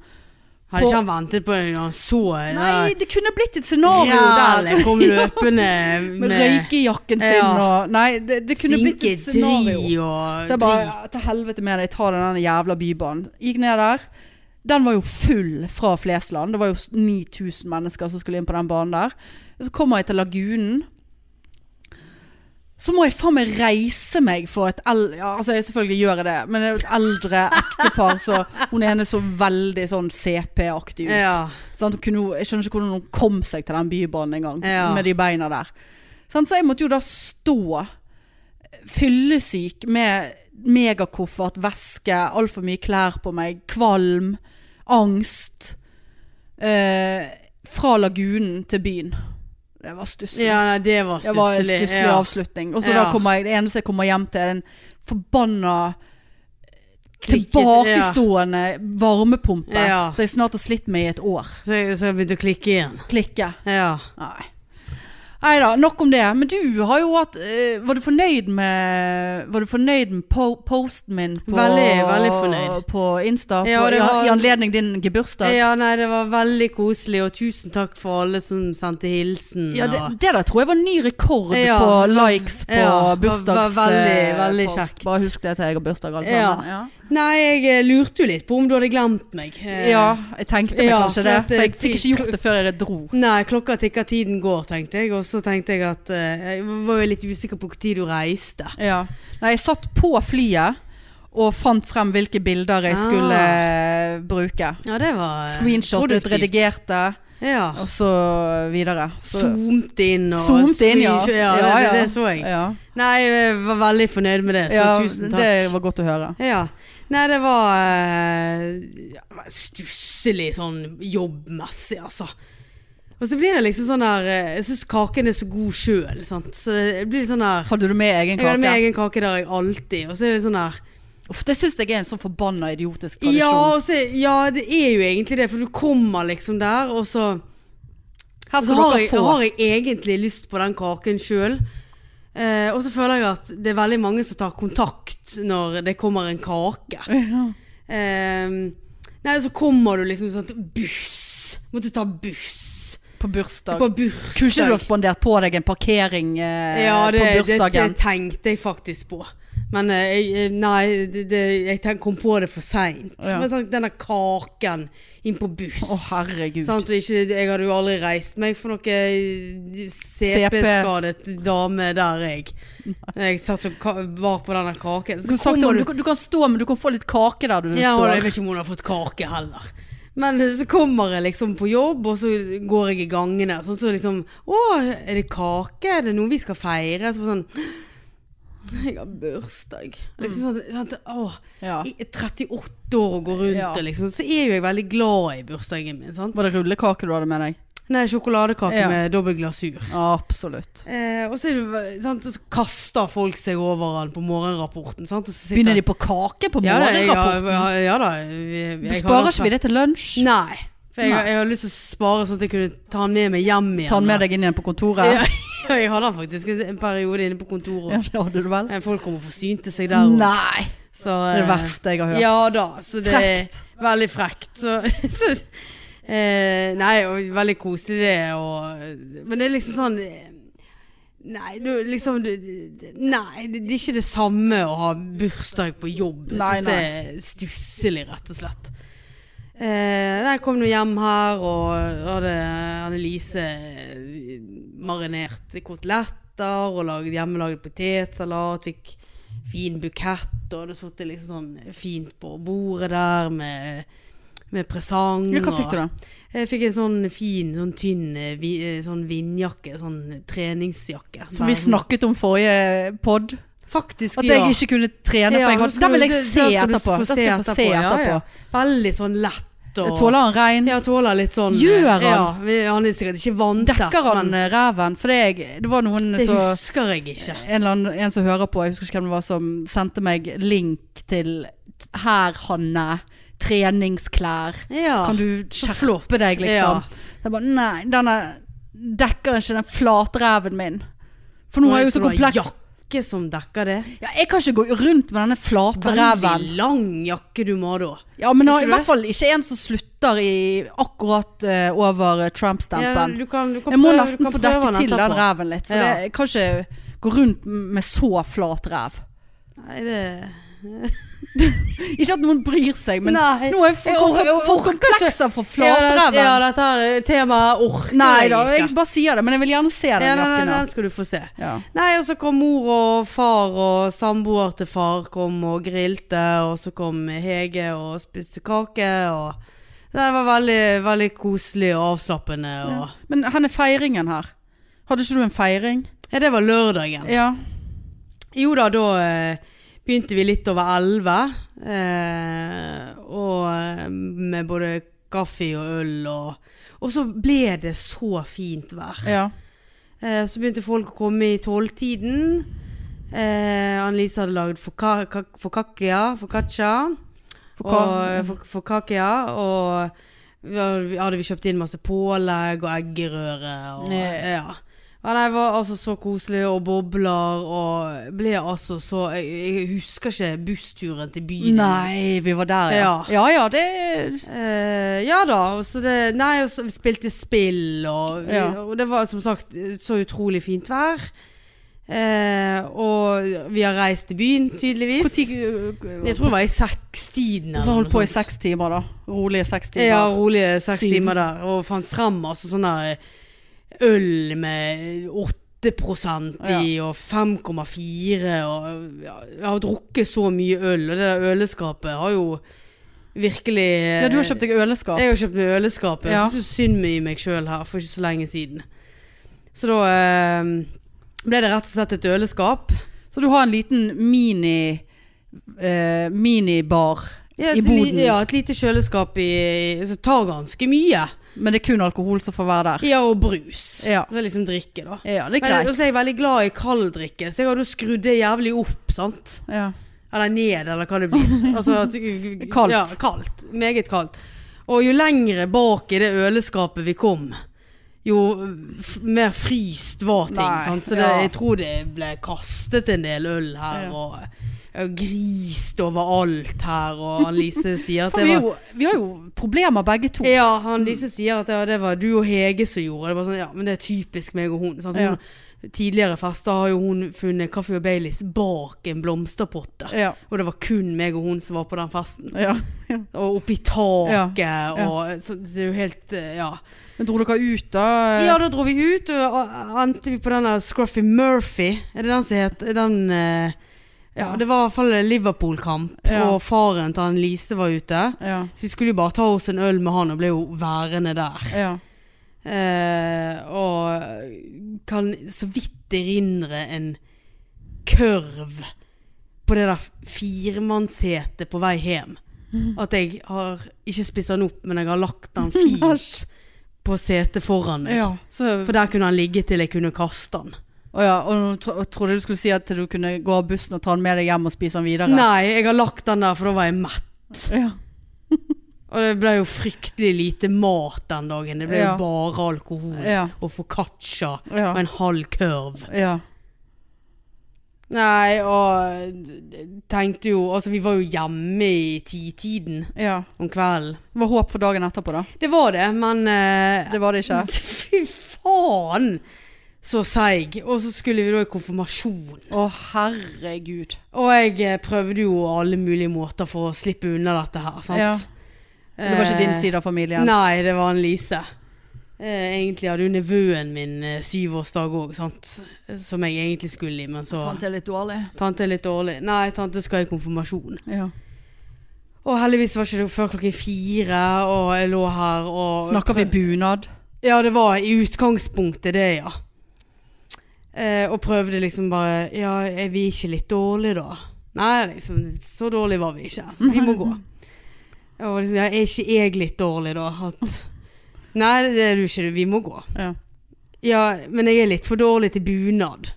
[SPEAKER 2] Hadde ikke han ventet på det når han så eh, det
[SPEAKER 1] Nei, det kunne blitt et
[SPEAKER 2] der
[SPEAKER 1] scenario
[SPEAKER 2] jævla
[SPEAKER 1] der.
[SPEAKER 2] kom løpende
[SPEAKER 1] Med
[SPEAKER 2] med
[SPEAKER 1] røykejakken sin
[SPEAKER 2] Ja.
[SPEAKER 1] og Nei, det, det kunne blitt et
[SPEAKER 2] sinketri
[SPEAKER 1] scenario.
[SPEAKER 2] og
[SPEAKER 1] Så jeg bare
[SPEAKER 2] drit.
[SPEAKER 1] ja, Til helvete med det, jeg tar den der jævla bybanen. Gikk ned der. Den var jo full fra Flesland. Det var jo s- 9000 mennesker som skulle inn på den banen der. Så kommer jeg til Lagunen. Så må jeg faen meg reise meg for et el- ja, altså jeg selvfølgelig gjør jeg det, men det er jo et eldre ektepar, så hun ene så veldig sånn CP-aktig ut.
[SPEAKER 2] Ja.
[SPEAKER 1] Sant? Hun kunne, jo- jeg skjønner ikke hvordan hun kom seg til den bybanen engang,
[SPEAKER 2] Ja.
[SPEAKER 1] med de beina der. Sant? Så jeg måtte jo da stå fyllesyk med megakoffert, veske, altfor mye klær på meg, kvalm, angst. Eh, fra lagunen til byen. Det var stusslig.
[SPEAKER 2] Ja, nei, det var
[SPEAKER 1] Det var en
[SPEAKER 2] stusslig.
[SPEAKER 1] stusslig
[SPEAKER 2] Ja.
[SPEAKER 1] avslutning. Og så
[SPEAKER 2] Ja.
[SPEAKER 1] da kommer jeg, det eneste jeg kommer hjem til, er den forbanna
[SPEAKER 2] Krikket,
[SPEAKER 1] tilbakestående varmepumpe
[SPEAKER 2] Ja.
[SPEAKER 1] som jeg snart har slitt med i et år.
[SPEAKER 2] Så, jeg- så jeg begynte å klikke igjen.
[SPEAKER 1] Klikke.
[SPEAKER 2] Ja.
[SPEAKER 1] Nei. Nei da, nok om det. Men du har jo hatt eh, Var du fornøyd med Var du fornøyd med po posten min på,
[SPEAKER 2] Veldig, veldig fornøyd.
[SPEAKER 1] på Insta?
[SPEAKER 2] Ja,
[SPEAKER 1] på,
[SPEAKER 2] det var-
[SPEAKER 1] I
[SPEAKER 2] Eh,
[SPEAKER 1] anledning din gebursdag?
[SPEAKER 2] ja, nei, det var veldig koselig, og tusen takk for alle som sendte hilsen.
[SPEAKER 1] Ja, det,
[SPEAKER 2] og-
[SPEAKER 1] det der tror jeg var ny rekord
[SPEAKER 2] Ja,
[SPEAKER 1] på
[SPEAKER 2] var-
[SPEAKER 1] likes på
[SPEAKER 2] ja, var- var
[SPEAKER 1] bursdags...
[SPEAKER 2] veldig,
[SPEAKER 1] eh,
[SPEAKER 2] veldig
[SPEAKER 1] post.
[SPEAKER 2] kjekt.
[SPEAKER 1] Bare husk det til jeg har bursdag, alle
[SPEAKER 2] Ja.
[SPEAKER 1] sammen. Ja.
[SPEAKER 2] Nei, jeg eh, lurte jo litt på om du hadde glemt meg. Eh,
[SPEAKER 1] ja, jeg tenkte meg
[SPEAKER 2] Ja,
[SPEAKER 1] kanskje
[SPEAKER 2] for
[SPEAKER 1] det.
[SPEAKER 2] at,
[SPEAKER 1] For jeg
[SPEAKER 2] eh,
[SPEAKER 1] fikk ikke gjort det før jeg dro.
[SPEAKER 2] Nei, klokka tikker, tiden går, tenkte jeg. Og så tenkte jeg at eh, Jeg var jo litt usikker på hvor tid du reiste.
[SPEAKER 1] Ja. Nei, jeg satt på flyet og fant frem hvilke bilder jeg
[SPEAKER 2] Ah.
[SPEAKER 1] skulle eh, bruke.
[SPEAKER 2] Ja, det var eh,
[SPEAKER 1] Screenshotet,
[SPEAKER 2] produktivt.
[SPEAKER 1] redigerte.
[SPEAKER 2] Ja.
[SPEAKER 1] Og så videre. Så,
[SPEAKER 2] Zoomte inn og
[SPEAKER 1] Zoomt inn, ja.
[SPEAKER 2] Ja, det,
[SPEAKER 1] Ja, ja.
[SPEAKER 2] Det, det så jeg.
[SPEAKER 1] ja.
[SPEAKER 2] Nei, jeg var veldig fornøyd med det, så
[SPEAKER 1] ja,
[SPEAKER 2] tusen takk.
[SPEAKER 1] det var godt å høre.
[SPEAKER 2] Ja. Nei, det var eh, ja, stusslig sånn jobbmessig, altså. Og så blir jeg liksom sånn der eh, Jeg syns kaken er så god sjøl, sant. Så jeg blir sånn der
[SPEAKER 1] Hadde du med egen
[SPEAKER 2] Jeg hadde med
[SPEAKER 1] kake?
[SPEAKER 2] egen kake der jeg alltid, og så er det sånn der
[SPEAKER 1] Uff, det syns jeg er en sånn forbanna idiotisk tradisjon.
[SPEAKER 2] ja, og så, ja, det er jo egentlig det, for du kommer liksom der, og så
[SPEAKER 1] Her
[SPEAKER 2] Så
[SPEAKER 1] skal
[SPEAKER 2] har
[SPEAKER 1] dere
[SPEAKER 2] jeg,
[SPEAKER 1] få.
[SPEAKER 2] har jeg egentlig lyst på den kaken sjøl. Eh, og så føler jeg at det er veldig mange som tar kontakt når det kommer en kake. Eh, nei, så kommer du liksom sånn Buss! Måtte ta buss.
[SPEAKER 1] På bursdag.
[SPEAKER 2] På bursdag.
[SPEAKER 1] Kunne ikke du ha spandert på deg en parkering eh,
[SPEAKER 2] ja, det,
[SPEAKER 1] på
[SPEAKER 2] det, det
[SPEAKER 1] bursdagen?
[SPEAKER 2] tenkte jeg faktisk på. Men eh, jeg, nei, det, det, jeg tenk, kom på det for seint.
[SPEAKER 1] Ja.
[SPEAKER 2] Men sånn, denne kaken inn på buss.
[SPEAKER 1] Å, herregud.
[SPEAKER 2] Sant? Og ikke, jeg hadde jo aldri reist meg for noe CP-skadet dame der, jeg. Jeg satt og ka var på denne kaken.
[SPEAKER 1] Du, kunne sagt det, du, kan- du kan stå, men du kan få litt kake der du
[SPEAKER 2] ja, og Jeg
[SPEAKER 1] står.
[SPEAKER 2] vet ikke om hun har fått kake heller. Men så kommer jeg liksom på jobb, og så går jeg i gangene. Sånn så liksom Å, er det kake? Er det noe vi skal feire? Så var det sånn Jeg har bursdag. Liksom sånn, sant? Åh,
[SPEAKER 1] Ja.
[SPEAKER 2] jeg er 38 år og går rundt
[SPEAKER 1] Ja.
[SPEAKER 2] og liksom Så er jo jeg veldig glad i bursdagen min, sant?
[SPEAKER 1] Var det rullekake du hadde med deg?
[SPEAKER 2] Nei, sjokoladekake
[SPEAKER 1] Ja.
[SPEAKER 2] med dobbel glasur.
[SPEAKER 1] Absolutt.
[SPEAKER 2] Eh, og så, er det, ve- sant, så kaster folk seg over han på morgenrapporten. Sant? Og så sitter-
[SPEAKER 1] Begynner de på kake på
[SPEAKER 2] ja, da, jeg har-
[SPEAKER 1] morgenrapporten?
[SPEAKER 2] Ja, ja da. vi- vi- jeg har
[SPEAKER 1] Sparer
[SPEAKER 2] nok-
[SPEAKER 1] ikke vi det til lunsj?
[SPEAKER 2] Nei. For jeg,
[SPEAKER 1] Nei.
[SPEAKER 2] jeg har lyst til å spare sånn at jeg kunne ta han med meg hjem igjen.
[SPEAKER 1] Ta den med deg inn igjen på kontoret?
[SPEAKER 2] Ja, ja, jeg hadde han faktisk en, en periode inne på kontoret.
[SPEAKER 1] Ja, det hadde du vel?
[SPEAKER 2] Eh, Folk kom og forsynte seg der. og-
[SPEAKER 1] Nei!
[SPEAKER 2] så,
[SPEAKER 1] Det er det
[SPEAKER 2] eh,
[SPEAKER 1] verste jeg har hørt.
[SPEAKER 2] Ja da, så det
[SPEAKER 1] Frekt.
[SPEAKER 2] er veldig frekt. Så, så, eh, nei, og veldig koselig det. Og, men det er liksom sånn eh, Nei, du, liksom du, Nei, det det er ikke det samme å ha bursdag på jobb. Jeg
[SPEAKER 1] Nei,
[SPEAKER 2] syns det er stusslig, rett og slett. Eh, nei, jeg kom nå hjem her, og hadde Annelise marinert koteletter og lagd hjemmelagd potetsalat. Fikk fin bukett, og det satt liksom sånn fint på bordet der med, med presang.
[SPEAKER 1] Ja, hva fikk du
[SPEAKER 2] og-
[SPEAKER 1] da?
[SPEAKER 2] Jeg fikk en sånn fin, sånn tynn eh, vi, eh, sånn vindjakke. Sånn treningsjakke.
[SPEAKER 1] Som
[SPEAKER 2] Bare
[SPEAKER 1] vi
[SPEAKER 2] sånn-
[SPEAKER 1] snakket om forrige pod.
[SPEAKER 2] Faktisk,
[SPEAKER 1] At
[SPEAKER 2] ja.
[SPEAKER 1] jeg ikke kunne trene.
[SPEAKER 2] Ja,
[SPEAKER 1] for jeg
[SPEAKER 2] nå
[SPEAKER 1] hadde,
[SPEAKER 2] skal
[SPEAKER 1] den
[SPEAKER 2] du-
[SPEAKER 1] vil jeg
[SPEAKER 2] det-
[SPEAKER 1] se
[SPEAKER 2] den skal du
[SPEAKER 1] etterpå.
[SPEAKER 2] få
[SPEAKER 1] Den skal jeg få se
[SPEAKER 2] ja,
[SPEAKER 1] etterpå.
[SPEAKER 2] ja. Veldig sånn lett og
[SPEAKER 1] Jeg Tåler han regn?
[SPEAKER 2] Ja, tåler litt sånn
[SPEAKER 1] Gjør han?
[SPEAKER 2] Ja, vi- han er sikkert ikke vanntett.
[SPEAKER 1] Dekker han
[SPEAKER 2] men
[SPEAKER 1] eh, ræven? For det, jeg, det var noen
[SPEAKER 2] Det
[SPEAKER 1] som
[SPEAKER 2] husker jeg ikke.
[SPEAKER 1] en, eller annen, en som hører på, jeg husker ikke hvem det var, som sendte meg link til t- Her, Hanne. Treningsklær.
[SPEAKER 2] Ja.
[SPEAKER 1] Kan du
[SPEAKER 2] så flott.
[SPEAKER 1] skjerpe deg, liksom?
[SPEAKER 2] Ja.
[SPEAKER 1] Så Jeg bare Nei, denne dekker ikke den flatreven min. For nå er jeg jo så kompleks.
[SPEAKER 2] Jakke som dekker det.
[SPEAKER 1] Ja, jeg kan ikke gå rundt med denne flate reven.
[SPEAKER 2] Veldig lang jakke du må ha da.
[SPEAKER 1] Ja, men i
[SPEAKER 2] Tror du
[SPEAKER 1] hvert
[SPEAKER 2] det?
[SPEAKER 1] fall ikke en som slutter i akkurat eh, over eh,
[SPEAKER 2] Ja,
[SPEAKER 1] Trump-stempen.
[SPEAKER 2] du kan, du kan
[SPEAKER 1] jeg må
[SPEAKER 2] prøve- du
[SPEAKER 1] nesten
[SPEAKER 2] kan
[SPEAKER 1] få
[SPEAKER 2] prøve
[SPEAKER 1] dekke til den
[SPEAKER 2] etterpå.
[SPEAKER 1] reven litt, for
[SPEAKER 2] Ja.
[SPEAKER 1] det, jeg kan ikke gå rundt med så flat rev.
[SPEAKER 2] Nei, det
[SPEAKER 1] Ikke at noen bryr seg, men
[SPEAKER 2] Nei.
[SPEAKER 1] nå er jeg
[SPEAKER 2] Jeg
[SPEAKER 1] for, for,
[SPEAKER 2] orker- jeg
[SPEAKER 1] for, for
[SPEAKER 2] orker
[SPEAKER 1] komplekser for
[SPEAKER 2] Ja, det-
[SPEAKER 1] flatreven.
[SPEAKER 2] Ja, dette her temaet orker
[SPEAKER 1] Nei da,
[SPEAKER 2] jeg
[SPEAKER 1] jeg
[SPEAKER 2] ikke.
[SPEAKER 1] bare sier det, men jeg vil gjerne se den
[SPEAKER 2] Ja, nei, nei,
[SPEAKER 1] jakken.
[SPEAKER 2] den
[SPEAKER 1] her.
[SPEAKER 2] skal du få se.
[SPEAKER 1] Ja.
[SPEAKER 2] Nei, og så kom mor og far og samboer til far kom og grilte, og så kom Hege og spiste kake, og det var veldig, veldig koselig og avslappende, og ja.
[SPEAKER 1] Men henne feiringen her. Hadde ikke du en feiring?
[SPEAKER 2] det var lørdagen.
[SPEAKER 1] Ja.
[SPEAKER 2] Jo da, da eh, begynte vi litt over elleve. Eh, og med både kaffe og øl og Og så ble det så fint vær.
[SPEAKER 1] Ja.
[SPEAKER 2] Eh, så begynte folk å komme i tolvtiden. Eh, Annelise hadde lagd foka- ka- focaccia. Focaccia.
[SPEAKER 1] Foca-
[SPEAKER 2] og, eh, fo- focaccia, og vi hadde- hadde vi kjøpt inn masse pålegg og eggerøre. Og,
[SPEAKER 1] Nei.
[SPEAKER 2] ja. Ja, nei, det var altså så koselig, og bobler, og ble altså så Jeg, jeg husker ikke bussturen til byen.
[SPEAKER 1] Nei, vi var der, ja.
[SPEAKER 2] Ja.
[SPEAKER 1] Ja ja, det
[SPEAKER 2] Eh, ja da. og Så det, nei, og så vi spilte spill, og, vi,
[SPEAKER 1] Ja.
[SPEAKER 2] og det var som sagt så utrolig fint vær. Eh, og vi har reist til byen, tydeligvis. Jeg
[SPEAKER 1] Når
[SPEAKER 2] tror det var i sekstiden. eller
[SPEAKER 1] Så holdt
[SPEAKER 2] noe
[SPEAKER 1] på i
[SPEAKER 2] sånt.
[SPEAKER 1] seks timer, da. Rolige seks timer.
[SPEAKER 2] Ja, rolige seks
[SPEAKER 1] Syv.
[SPEAKER 2] timer der. Og fant frem altså sånn der øl med 8 i, og 5,4 og ja, Jeg har drukket så mye øl, og det der øleskapet har jo virkelig
[SPEAKER 1] Ja, du har kjøpt deg øleskap.
[SPEAKER 2] Jeg har kjøpt meg øleskapet.
[SPEAKER 1] Ja.
[SPEAKER 2] Jeg syns synd i meg sjøl her for ikke så lenge siden. Så da eh, ble det rett og slett et øleskap.
[SPEAKER 1] Så du har en liten mini eh, minibar
[SPEAKER 2] Ja,
[SPEAKER 1] i
[SPEAKER 2] et li-
[SPEAKER 1] boden.
[SPEAKER 2] Ja, et lite kjøleskap i Som tar ganske mye.
[SPEAKER 1] Men det er kun alkohol som får være der.
[SPEAKER 2] Ja, og brus.
[SPEAKER 1] Ja.
[SPEAKER 2] Så liksom drikke, da.
[SPEAKER 1] Ja, det er
[SPEAKER 2] Men
[SPEAKER 1] greit.
[SPEAKER 2] også er jeg veldig glad i kald drikke, så jeg hadde jo skrudd det jævlig opp, sant?
[SPEAKER 1] Ja.
[SPEAKER 2] Eller ned, eller hva det blir. Altså, at-
[SPEAKER 1] Kaldt.
[SPEAKER 2] Ja, kaldt. Meget kaldt. Og jo lengre bak i det øleskapet vi kom, jo f mer fryst var ting.
[SPEAKER 1] Nei,
[SPEAKER 2] sant? Så det,
[SPEAKER 1] ja.
[SPEAKER 2] jeg tror det ble kastet en del øl her,
[SPEAKER 1] Ja.
[SPEAKER 2] og, og grist overalt her, og Lise sier at
[SPEAKER 1] For
[SPEAKER 2] det
[SPEAKER 1] vi, er
[SPEAKER 2] var
[SPEAKER 1] jo, Mm. vi har jo problemer begge to.
[SPEAKER 2] ja, han Lise sier at det, det var du og Hege som gjorde det. det. Var sånn, ja, men det er typisk meg og hun. Sant? hun
[SPEAKER 1] Ja.
[SPEAKER 2] Tidligere fester har jo hun funnet Kaffe og Baileys bak en blomsterpotte.
[SPEAKER 1] Ja.
[SPEAKER 2] Og det var kun meg og hun som var på den festen.
[SPEAKER 1] ja. ja.
[SPEAKER 2] Og oppi taket
[SPEAKER 1] Ja, ja.
[SPEAKER 2] og så, Det er jo helt eh, Ja.
[SPEAKER 1] Men dro dere ut, da?
[SPEAKER 2] Ja, da dro vi ut, og og endte vi på denne Scruffy Murphy. Er det den som het? Den eh, Ja, det var i hvert fall Liverpool-kamp,
[SPEAKER 1] Ja.
[SPEAKER 2] og faren til han Lise var ute.
[SPEAKER 1] Ja.
[SPEAKER 2] Så vi skulle jo bare ta oss en øl med han, og ble jo værende der.
[SPEAKER 1] ja.
[SPEAKER 2] Eh, og kan så vidt erindre en kurv på det der firmannssetet på vei hjem.
[SPEAKER 1] Mhm.
[SPEAKER 2] At jeg har ikke spist den opp, men jeg har lagt den fint på setet foran meg.
[SPEAKER 1] ja. Så,
[SPEAKER 2] For der kunne han ligge til jeg kunne kaste den.
[SPEAKER 1] og ja, og nå tro- og trodde du skulle si at du kunne gå av bussen og ta den med deg hjem og spise den videre.
[SPEAKER 2] Nei, jeg har lagt den der, for da var jeg mett.
[SPEAKER 1] Ja.
[SPEAKER 2] Og det ble jo fryktelig lite mat den dagen. Det ble
[SPEAKER 1] Ja.
[SPEAKER 2] jo bare alkohol
[SPEAKER 1] Ja.
[SPEAKER 2] og foccaccia
[SPEAKER 1] Ja.
[SPEAKER 2] og en halv kurv.
[SPEAKER 1] ja.
[SPEAKER 2] Nei, og d- tenkte jo Altså, vi var jo hjemme i titiden
[SPEAKER 1] ja.
[SPEAKER 2] om kvelden.
[SPEAKER 1] Det var håp for dagen etterpå, da.
[SPEAKER 2] Det var det, men eh,
[SPEAKER 1] Det var det ikke.
[SPEAKER 2] Fy faen! Så seig. Og så skulle vi da i konfirmasjon.
[SPEAKER 1] Å, herregud.
[SPEAKER 2] Og jeg eh, prøvde jo alle mulige måter for å slippe unna dette her, sant.
[SPEAKER 1] Ja. Det var ikke din
[SPEAKER 2] Eh,
[SPEAKER 1] side av familien?
[SPEAKER 2] Nei, det var en Lise. Eh, egentlig hadde jo nevøen min eh, syvårsdag òg, sant. Som jeg egentlig skulle i, men så
[SPEAKER 1] Tante er litt dårlig.
[SPEAKER 2] Tante er litt dårlig. Nei, tante skal i konfirmasjon.
[SPEAKER 1] Ja.
[SPEAKER 2] Og heldigvis var ikke det før klokken fire, og jeg lå her og
[SPEAKER 1] Snakker vi bunad?
[SPEAKER 2] Ja, det var i utgangspunktet det, ja. Eh, og prøvde liksom bare Ja, er vi ikke litt dårlige, da? Nei, liksom, så dårlige var vi ikke. Så vi må gå. Og liksom, ja, er ikke jeg litt dårlig, da? At Nei, det er du ikke. Vi må gå.
[SPEAKER 1] Ja.
[SPEAKER 2] Ja, men jeg er litt for dårlig til bunad.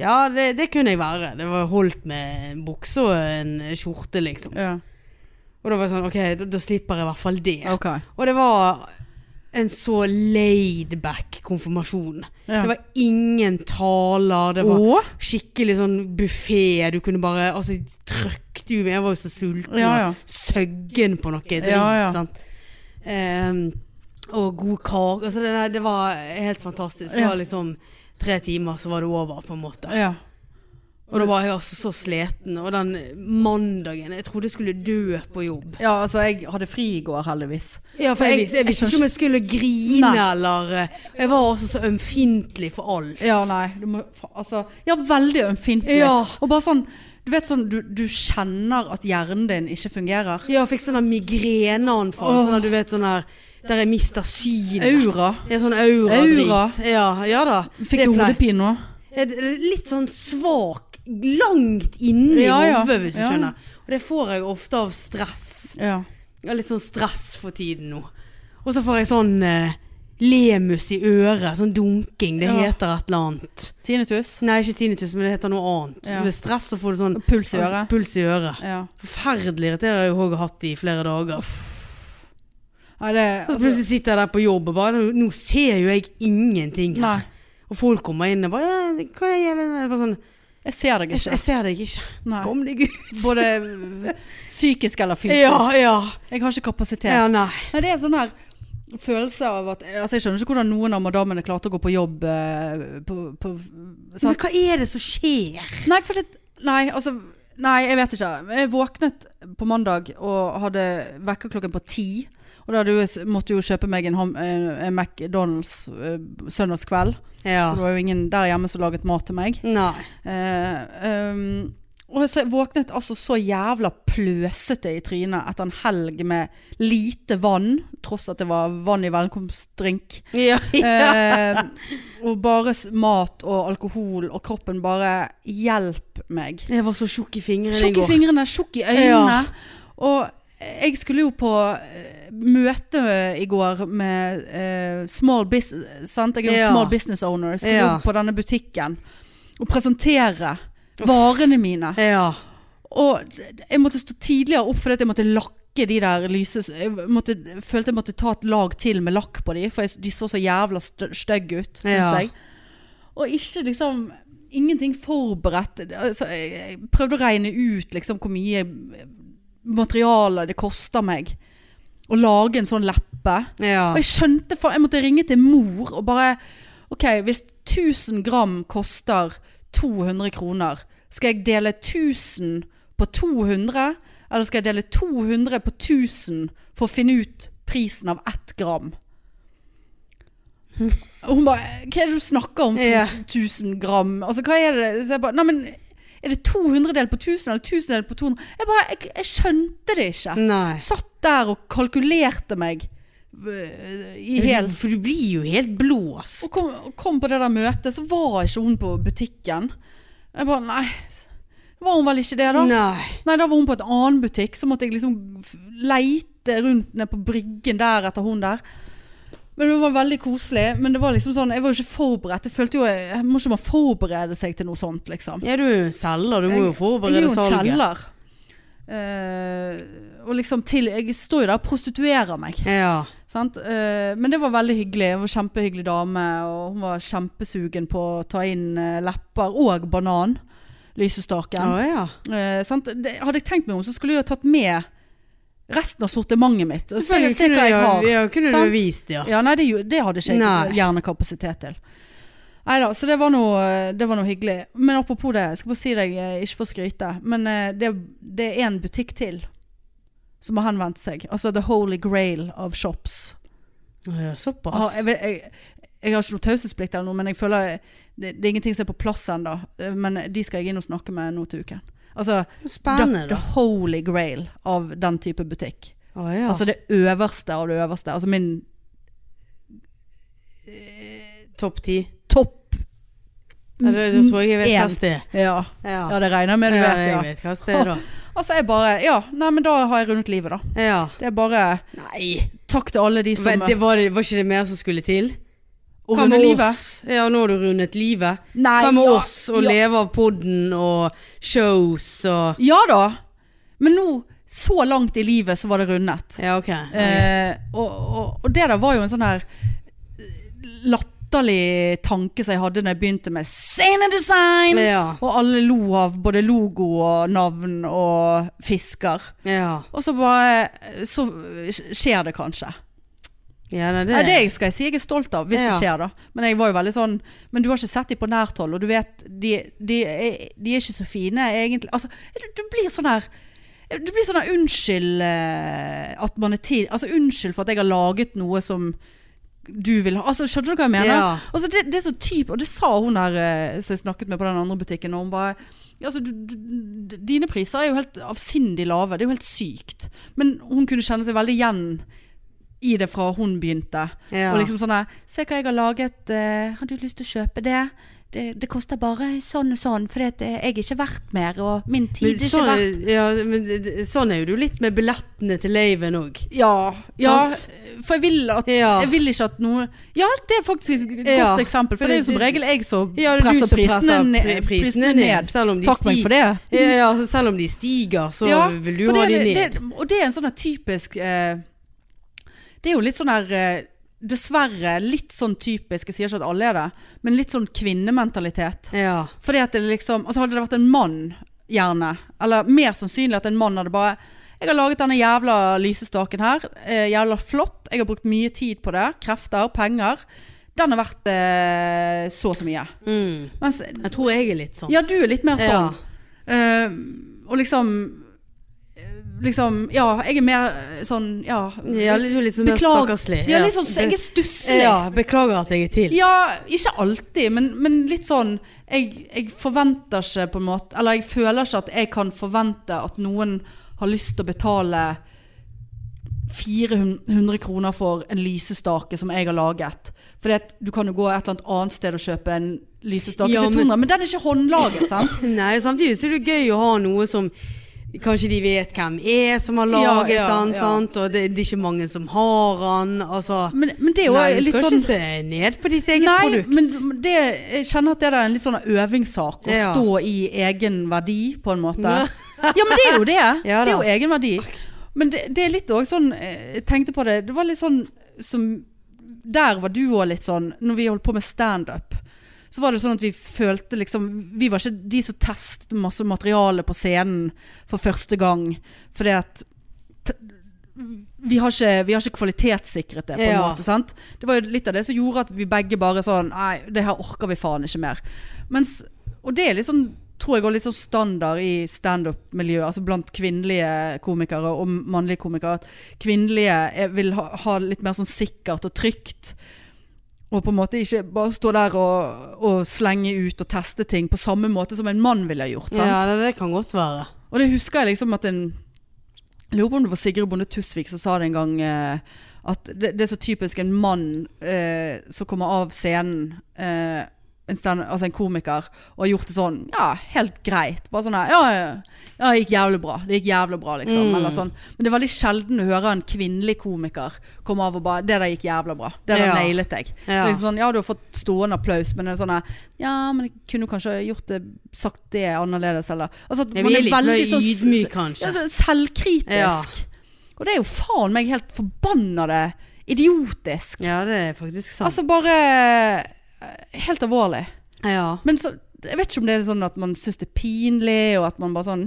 [SPEAKER 2] Ja, det, det kunne jeg være. Det var holdt med en bukse og en skjorte, liksom.
[SPEAKER 1] ja.
[SPEAKER 2] Og da var jeg sånn, ok, da, da slipper jeg i hvert fall det.
[SPEAKER 1] Ok.
[SPEAKER 2] Og det var en så laid-back konfirmasjon.
[SPEAKER 1] Ja. Oh.
[SPEAKER 2] Det var ingen taler, det var
[SPEAKER 1] Å?
[SPEAKER 2] skikkelig sånn buffé. Du kunne bare Altså, de trøkte jo meg. Jeg var jo så sulten
[SPEAKER 1] Ja, ja.
[SPEAKER 2] og søggen på noe dritt.
[SPEAKER 1] Ja, ja.
[SPEAKER 2] Sant? Ehm, og god kake. Altså, det, der- det var helt fantastisk. Det
[SPEAKER 1] Ja.
[SPEAKER 2] var liksom tre timer, så var det over, på en måte.
[SPEAKER 1] Ja.
[SPEAKER 2] Og da var jeg altså så sliten. Og den mandagen Jeg trodde jeg skulle dø på jobb.
[SPEAKER 1] ja, altså jeg hadde fri i går heldigvis.
[SPEAKER 2] Ja, for jeg,
[SPEAKER 1] Jeg-
[SPEAKER 2] visste-
[SPEAKER 1] jeg
[SPEAKER 2] jeg visste
[SPEAKER 1] syns-
[SPEAKER 2] ikke om jeg skulle grine
[SPEAKER 1] Nei.
[SPEAKER 2] eller eh, Jeg var også så ømfintlig for alt.
[SPEAKER 1] Ja, nei, du må, fa- altså, ja veldig ømfintlig.
[SPEAKER 2] Ja.
[SPEAKER 1] Og bare sånn, du vet sånn, du, du kjenner at hjernen din ikke fungerer.
[SPEAKER 2] Ja, jeg fikk sånne migreneanfall.
[SPEAKER 1] Åh.
[SPEAKER 2] Sånn at du vet sånn her Der jeg mister synet.
[SPEAKER 1] Aura.
[SPEAKER 2] Ja, sånn aura-drit.
[SPEAKER 1] Aura.
[SPEAKER 2] Ja, ja da.
[SPEAKER 1] Fikk du
[SPEAKER 2] pleier-
[SPEAKER 1] hodepine nå?
[SPEAKER 2] Ja, det- det er Litt sånn svak langt inni
[SPEAKER 1] Ja, ja.
[SPEAKER 2] hodet, hvis du
[SPEAKER 1] Ja.
[SPEAKER 2] skjønner. Og det får jeg ofte av stress.
[SPEAKER 1] Ja.
[SPEAKER 2] Jeg har litt sånn stress for tiden nå. Og så får jeg sånn eh, lemus i øret, sånn dunking. Det
[SPEAKER 1] Ja.
[SPEAKER 2] heter et eller annet.
[SPEAKER 1] Tinnitus.
[SPEAKER 2] Nei, ikke tinnitus, men det heter noe annet.
[SPEAKER 1] Ja.
[SPEAKER 2] Ved stress så får du sånn
[SPEAKER 1] Puls i øret.
[SPEAKER 2] puls i øret.
[SPEAKER 1] Ja.
[SPEAKER 2] Forferdelig irriterer jeg har også hatt det i flere dager.
[SPEAKER 1] Nei, det
[SPEAKER 2] Og så
[SPEAKER 1] altså,
[SPEAKER 2] plutselig sitter jeg der på jobb og bare Nå, nå ser jo jeg ingenting her.
[SPEAKER 1] Nei.
[SPEAKER 2] Og folk kommer inn og bare, «Ja, hva er jeg, jeg, bare sånn,
[SPEAKER 1] Jeg ser deg
[SPEAKER 2] jeg,
[SPEAKER 1] ikke.
[SPEAKER 2] jeg ser deg ikke.
[SPEAKER 1] Nei.
[SPEAKER 2] Kom deg ut.
[SPEAKER 1] Både øh, psykisk eller fysisk.
[SPEAKER 2] Ja, ja.
[SPEAKER 1] Jeg har ikke kapasitet.
[SPEAKER 2] ja nei.
[SPEAKER 1] Nei, det er sånn her følelse av at Altså, jeg skjønner ikke hvordan noen av madammene klarte å gå på jobb eh, på, på sant?
[SPEAKER 2] Men hva er det som skjer?
[SPEAKER 1] Nei, for det Nei, altså Nei, jeg vet ikke. Jeg våknet på mandag og hadde vekker klokken på ti. Og da hadde jo, jeg- måtte jo kjøpe meg en, ham- eh, en McDonald's eh, søndagskveld.
[SPEAKER 2] Ja.
[SPEAKER 1] For Det var jo ingen der hjemme som laget mat til meg.
[SPEAKER 2] Nei.
[SPEAKER 1] Eh, um, og så jeg våknet altså så jævla pløsete i trynet etter en helg med lite vann, tross at det var vann i velkomstdrink.
[SPEAKER 2] Ja, ja.
[SPEAKER 1] Eh, og bare s- mat og alkohol, og kroppen bare hjelp meg.
[SPEAKER 2] Jeg var så tjukk i fingrene i
[SPEAKER 1] Tjukk i
[SPEAKER 2] går.
[SPEAKER 1] fingrene, tjukk i øynene. Og jeg skulle jo på eh, møte eh, i går med eh, small business sant? Jeg er jo
[SPEAKER 2] Ja.
[SPEAKER 1] small business owner. Jeg skulle
[SPEAKER 2] Ja.
[SPEAKER 1] jo på denne butikken og presentere varene mine.
[SPEAKER 2] Ja.
[SPEAKER 1] Og jeg måtte stå tidligere opp fordi at jeg måtte lakke de der lyse Jeg måtte, følte jeg måtte ta et lag til med lakk på de, for jeg, de så så jævla stø- stygge ut, syns
[SPEAKER 2] Ja.
[SPEAKER 1] jeg. Og ikke liksom Ingenting forberedt. Altså, jeg, jeg prøvde å regne ut liksom hvor mye materialer det koster meg å lage en sånn leppe.
[SPEAKER 2] Ja.
[SPEAKER 1] Og jeg skjønte fa- Jeg måtte ringe til mor og bare Ok, hvis 1000 gram koster 200 kroner, skal jeg dele 1000 på 200? Eller skal jeg dele 200 på 1000 for å finne ut prisen av ett gram? Og hun bare Hva er det du snakker om?
[SPEAKER 2] Ja.
[SPEAKER 1] 1000 gram? Altså, hva er det? Så jeg bare Nei, men er det 200 delt på 1000 eller 1000 delt på 200? Jeg bare Jeg, jeg skjønte det ikke.
[SPEAKER 2] Nei.
[SPEAKER 1] Satt der og kalkulerte meg øh, i hel
[SPEAKER 2] For du blir jo helt blåst.
[SPEAKER 1] Og kom, og kom på det der møtet, så var ikke hun på butikken. Jeg bare Nei, var hun vel ikke det, da? Nei,
[SPEAKER 2] Nei.
[SPEAKER 1] da var hun på et annen butikk, så måtte jeg liksom f- leite rundt ned på bryggen der etter hun der. Men det var veldig koselig. Men det var liksom sånn, jeg var jo ikke forberedt. Jeg følte jo jeg, jeg Må ikke man forberede seg til noe sånt, liksom?
[SPEAKER 2] Ja, du er jo en selger. Du må
[SPEAKER 1] Jeg
[SPEAKER 2] jo
[SPEAKER 1] er
[SPEAKER 2] forberede
[SPEAKER 1] jo en
[SPEAKER 2] salget.
[SPEAKER 1] selger. Eh, og liksom til Jeg står jo der og prostituerer meg.
[SPEAKER 2] Ja.
[SPEAKER 1] Sant? Eh, men det var veldig hyggelig. Hun var en kjempehyggelig dame, og hun var kjempesugen på å ta inn eh, lepper og banan.
[SPEAKER 2] Å
[SPEAKER 1] Lysestaken.
[SPEAKER 2] ja.
[SPEAKER 1] Eh, sant? Det, hadde jeg tenkt meg om, så skulle jeg jo tatt med resten av sortimentet mitt. og Se, se hva
[SPEAKER 2] kunne
[SPEAKER 1] jeg har.
[SPEAKER 2] du- Ja, kunne du
[SPEAKER 1] Sant?
[SPEAKER 2] vist, ja.
[SPEAKER 1] Ja, nei, det, gjo- det hadde ikke
[SPEAKER 2] Nei.
[SPEAKER 1] jeg hjernekapasitet til. Nei da, så det var, noe, det var noe hyggelig. Men apropos det, jeg skal bare si deg, eh, ikke for å skryte, men eh, det, det er en butikk til som har henvendt seg. Altså The Holy Grail of Shops.
[SPEAKER 2] Å, ja
[SPEAKER 1] Ah,
[SPEAKER 2] såpass.
[SPEAKER 1] jeg, vet- jeg, jeg har ikke noe taushetsplikt eller noe, men jeg føler det, det er ingenting som er på plass ennå. Eh, Men de skal jeg inn og snakke med nå til uken. Altså the,
[SPEAKER 2] Spennende,
[SPEAKER 1] the
[SPEAKER 2] da.
[SPEAKER 1] Holy Grail av den type butikk.
[SPEAKER 2] Å ja.
[SPEAKER 1] Altså det øverste av det øverste. Altså min
[SPEAKER 2] Topp ti.
[SPEAKER 1] topp
[SPEAKER 2] Ja, det, det tror jeg jeg vet
[SPEAKER 1] En.
[SPEAKER 2] hva det er.
[SPEAKER 1] Ja.
[SPEAKER 2] Ja.
[SPEAKER 1] ja, det regner jeg med du
[SPEAKER 2] Ja,
[SPEAKER 1] vet, ja.
[SPEAKER 2] jeg vet hva det er, da.
[SPEAKER 1] Altså, jeg bare Ja, nei, men da har jeg rundet livet, da.
[SPEAKER 2] Ja.
[SPEAKER 1] Det er bare
[SPEAKER 2] Nei.
[SPEAKER 1] takk til alle de som
[SPEAKER 2] Men det var, det- var ikke det mer som skulle til?
[SPEAKER 1] Å
[SPEAKER 2] Hva
[SPEAKER 1] runde
[SPEAKER 2] med
[SPEAKER 1] livet?
[SPEAKER 2] oss? Ja, nå har du rundet livet.
[SPEAKER 1] Nei,
[SPEAKER 2] Hva med
[SPEAKER 1] ja,
[SPEAKER 2] oss? Å
[SPEAKER 1] ja.
[SPEAKER 2] leve av podden og shows og
[SPEAKER 1] Ja da. Men nå, så langt i livet, så var det rundet.
[SPEAKER 2] Ja, ok. Ja,
[SPEAKER 1] Eh, og, og, og det der var jo en sånn her latterlig tanke som jeg hadde når jeg begynte med Scene Design!
[SPEAKER 2] ja.
[SPEAKER 1] Og alle lo av både logo og navn og fisker.
[SPEAKER 2] Ja,
[SPEAKER 1] Og så bare Så skjer det kanskje.
[SPEAKER 2] ja nei, det,
[SPEAKER 1] Nei, det skal jeg si jeg er stolt av, hvis
[SPEAKER 2] Ja.
[SPEAKER 1] det skjer da. Men jeg var jo veldig sånn Men du har ikke sett dem på nært hold, og du vet De, de, er, de er ikke så fine, egentlig. Altså, du, du blir sånn her Du blir sånn her Unnskyld eh, at man er tid... Altså, unnskyld for at jeg har laget noe som du vil ha Altså, skjønner du hva jeg mener?
[SPEAKER 2] Ja.
[SPEAKER 1] Altså, det, det er så typ Og det sa hun der eh, som jeg snakket med på den andre butikken, og hun bare ja, altså, du, du, dine priser er jo helt avsindig lave. Det er jo helt sykt. Men hun kunne kjenne seg veldig igjen i det fra hun begynte.
[SPEAKER 2] ja.
[SPEAKER 1] Og liksom sånn der, Se hva jeg har laget. eh, har du lyst til å kjøpe det? det, det koster bare sånn og sånn, for jeg er ikke verdt mer, og min
[SPEAKER 2] Men
[SPEAKER 1] tid er ikke
[SPEAKER 2] sånn,
[SPEAKER 1] verdt
[SPEAKER 2] ja, men det- det- sånn er jo du litt med billettene til laven òg.
[SPEAKER 1] Ja, ja
[SPEAKER 2] Sant?
[SPEAKER 1] for jeg vil, at,
[SPEAKER 2] Ja.
[SPEAKER 1] jeg vil ikke at noe Ja, det er faktisk et godt
[SPEAKER 2] Ja,
[SPEAKER 1] eksempel, for
[SPEAKER 2] for
[SPEAKER 1] det er jo
[SPEAKER 2] det-
[SPEAKER 1] som regel jeg som
[SPEAKER 2] Ja, det er du
[SPEAKER 1] presser
[SPEAKER 2] som presser
[SPEAKER 1] prisene,
[SPEAKER 2] pri-
[SPEAKER 1] ned, prisene ned.
[SPEAKER 2] selv om de
[SPEAKER 1] Takk meg
[SPEAKER 2] stiger.
[SPEAKER 1] for det.
[SPEAKER 2] Ja, ja, altså, selv om de stiger, så
[SPEAKER 1] Ja,
[SPEAKER 2] vil du
[SPEAKER 1] for
[SPEAKER 2] ha
[SPEAKER 1] det
[SPEAKER 2] de
[SPEAKER 1] er-
[SPEAKER 2] ned.
[SPEAKER 1] Det, og det er en sånn her typisk eh, Det er jo litt sånn her eh, Dessverre litt sånn typisk, jeg sier ikke at alle er det, men litt sånn kvinnementalitet.
[SPEAKER 2] ja.
[SPEAKER 1] Fordi at det liksom Altså hadde det vært en mann, gjerne, eller mer sannsynlig at en mann hadde bare jeg har laget denne jævla lysestaken her. Eh, jævla flott. Jeg har brukt mye tid på det. Krefter, penger. Den er verdt eh, så og så mye.
[SPEAKER 2] Mm.
[SPEAKER 1] Mens
[SPEAKER 2] Jeg tror jeg er litt sånn.
[SPEAKER 1] Ja, du er litt mer sånn.
[SPEAKER 2] Ja.
[SPEAKER 1] Eh, og liksom eh, Liksom Ja, jeg er mer eh, sånn Ja.
[SPEAKER 2] Ja, litt- du er litt sånn mer
[SPEAKER 1] Beklager.
[SPEAKER 2] stakkarslig.
[SPEAKER 1] Ja, litt sånn Jeg er stusslig.
[SPEAKER 2] ja, beklager at jeg er til.
[SPEAKER 1] Ja, ikke alltid, men, men litt sånn jeg, jeg forventer ikke på en måte Eller jeg føler ikke at jeg kan forvente at noen har lyst til å betale 400 kroner for en lysestake som jeg har laget. For du kan jo gå et eller annet annet sted og kjøpe en lysestake
[SPEAKER 2] Ja, men-
[SPEAKER 1] til 200, men, den er ikke håndlaget, sant?
[SPEAKER 2] Nei, samtidig så er det gøy å ha noe som Kanskje de vet hvem er som har laget
[SPEAKER 1] Ja, ja,
[SPEAKER 2] den,
[SPEAKER 1] ja.
[SPEAKER 2] sant? og det, det er ikke mange som har den. Altså,
[SPEAKER 1] Men, men det er jo
[SPEAKER 2] nei, du
[SPEAKER 1] litt
[SPEAKER 2] skal
[SPEAKER 1] sånn
[SPEAKER 2] ikke se ned på ditt eget
[SPEAKER 1] Nei,
[SPEAKER 2] produkt.
[SPEAKER 1] men det, jeg kjenner at det er en litt sånn øvingssak å
[SPEAKER 2] Ja.
[SPEAKER 1] stå i egen verdi, på en måte.
[SPEAKER 2] Ja.
[SPEAKER 1] ja, men det er jo det.
[SPEAKER 2] Ja
[SPEAKER 1] det er
[SPEAKER 2] da.
[SPEAKER 1] jo egen verdi. Men det, det er litt òg sånn eh, Jeg tenkte på det. Det var litt sånn som Der var du òg litt sånn Når vi holdt på med standup, så var det sånn at vi følte liksom Vi var ikke de som testet masse materiale på scenen for første gang. Fordi at t- vi har, ikke, vi har ikke kvalitetssikret det, på en
[SPEAKER 2] Ja.
[SPEAKER 1] måte. Sant? Det var jo litt av det som gjorde at vi begge bare sånn Nei, det her orker vi faen ikke mer. Mens, og det er litt sånn, tror jeg, også litt sånn standard i standup-miljøet. Altså blant kvinnelige komikere og mannlige komikere. At kvinnelige er, vil ha, ha litt mer sånn sikkert og trygt. Og på en måte ikke bare stå der og, og slenge ut og teste ting på samme måte som en mann ville ha gjort. Sant?
[SPEAKER 2] Ja, det, det kan godt være.
[SPEAKER 1] Og det husker jeg liksom at en Jeg lurer på om det var Sigrid Bonde Tusvik som sa det en gang eh, At det, det er så typisk en mann eh, som kommer av scenen eh, en stand, Altså en komiker Og har gjort det sånn, ja, helt greit Bare sånn her, ja, ja, ja, det gikk jævlig bra Det gikk jævlig bra liksom
[SPEAKER 2] Mm.
[SPEAKER 1] eller sånn. Men det er veldig sjelden å høre en kvinnelig komiker Komme av og bare, det der gikk jævlig bra Det der
[SPEAKER 2] Ja.
[SPEAKER 1] nailet jeg
[SPEAKER 2] Ja.
[SPEAKER 1] Det er liksom sånn, ja, du har fått stående applaus, men det er sånn her, Ja, men jeg kunne kanskje gjort det, sagt det annerledes, eller altså, at
[SPEAKER 2] Jeg
[SPEAKER 1] Man
[SPEAKER 2] blir
[SPEAKER 1] er
[SPEAKER 2] litt
[SPEAKER 1] veldig
[SPEAKER 2] mer
[SPEAKER 1] sånn
[SPEAKER 2] ydmyk,
[SPEAKER 1] ja,
[SPEAKER 2] kanskje.
[SPEAKER 1] så selvkritisk.
[SPEAKER 2] Ja.
[SPEAKER 1] Og det er jo faen meg helt forbannede idiotisk.
[SPEAKER 2] Ja, det er faktisk sant.
[SPEAKER 1] Altså bare eh, Helt alvorlig.
[SPEAKER 2] ja.
[SPEAKER 1] Men så Jeg vet ikke om det er sånn at man syns det er pinlig, og at man bare sånn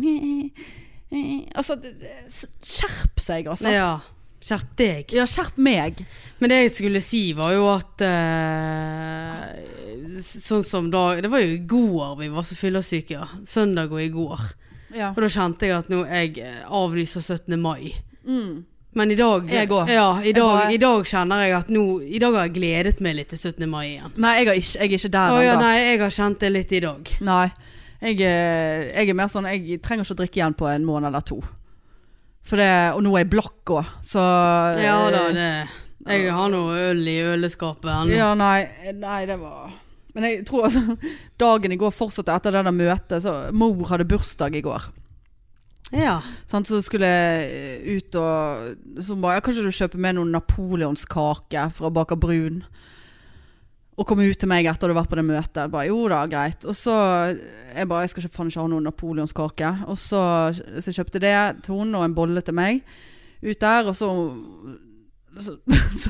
[SPEAKER 1] Altså, det- det- skjerp seg, altså.
[SPEAKER 2] ja. Skjerp deg.
[SPEAKER 1] Ja, skjerp meg.
[SPEAKER 2] Men det jeg skulle si var jo at eh, Sånn som da Det var jo i går vi var så fyllesyke, ja. Søndag og i går.
[SPEAKER 1] Ja.
[SPEAKER 2] Og da kjente jeg at nå jeg eh, avlyser 17. mai.
[SPEAKER 1] Mm.
[SPEAKER 2] Men i dag
[SPEAKER 1] Jeg går.
[SPEAKER 2] Ja, i dag,
[SPEAKER 1] bare-
[SPEAKER 2] i dag kjenner jeg at nå I dag har jeg gledet meg litt til 17. mai igjen.
[SPEAKER 1] Nei, jeg, har ikke, jeg er ikke
[SPEAKER 2] Å
[SPEAKER 1] der
[SPEAKER 2] ja,
[SPEAKER 1] ennå.
[SPEAKER 2] nei, jeg har kjent det litt i dag.
[SPEAKER 1] Nei. Jeg, eh, jeg er mer sånn Jeg trenger ikke å drikke igjen på en måned eller to. For det, og nå er jeg blakk òg, så
[SPEAKER 2] Ja da, det Jeg har noe øl i øleskapet ennå.
[SPEAKER 1] Ja, nei, nei, det var Men jeg tror altså Dagen i går fortsatte etter det der møtet. Så mor hadde bursdag i går.
[SPEAKER 2] Ja.
[SPEAKER 1] Sant? Så skulle jeg ut og Så hun bare ja, Kanskje du kjøper med noen napoleonskake fra Baker Brun? Og komme ut til meg etter du har vært på det møtet. Jeg Bare, jo da, greit. Og så Jeg bare Jeg skal ikke, faen ikke ha noen napoleonskake. Og så, så jeg kjøpte det til hun og en bolle til meg. Ut der, og så så, så,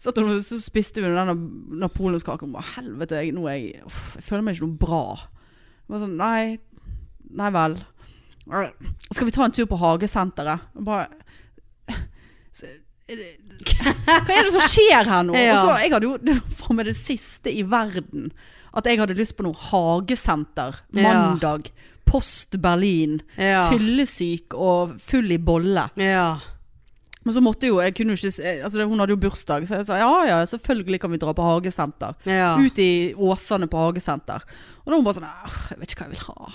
[SPEAKER 1] satt hun og- så spiste hun den napoleonskaken og bare Helvete, jeg, nå er jeg, uff, jeg føler meg ikke noe bra. Jeg Bare sånn, nei, nei vel. Skal vi ta en tur på hagesenteret? Og Bare Så- er det- Hva er det som skjer her nå?
[SPEAKER 2] Ja.
[SPEAKER 1] Og så, jeg hadde jo, det var faen meg det siste i verden at jeg hadde lyst på noe hagesenter
[SPEAKER 2] Ja.
[SPEAKER 1] mandag. Post Berlin.
[SPEAKER 2] Ja.
[SPEAKER 1] Fyllesyk og full i bolle.
[SPEAKER 2] ja.
[SPEAKER 1] Men så måtte jo, jeg kunne jo ikke s- eh, altså det- Hun hadde jo bursdag, så jeg sa ja ja, selvfølgelig kan vi dra på hagesenter.
[SPEAKER 2] ja.
[SPEAKER 1] Ut i Åsane på hagesenter. Og da var hun bare sånn «Ah, Jeg vet ikke hva jeg vil ha.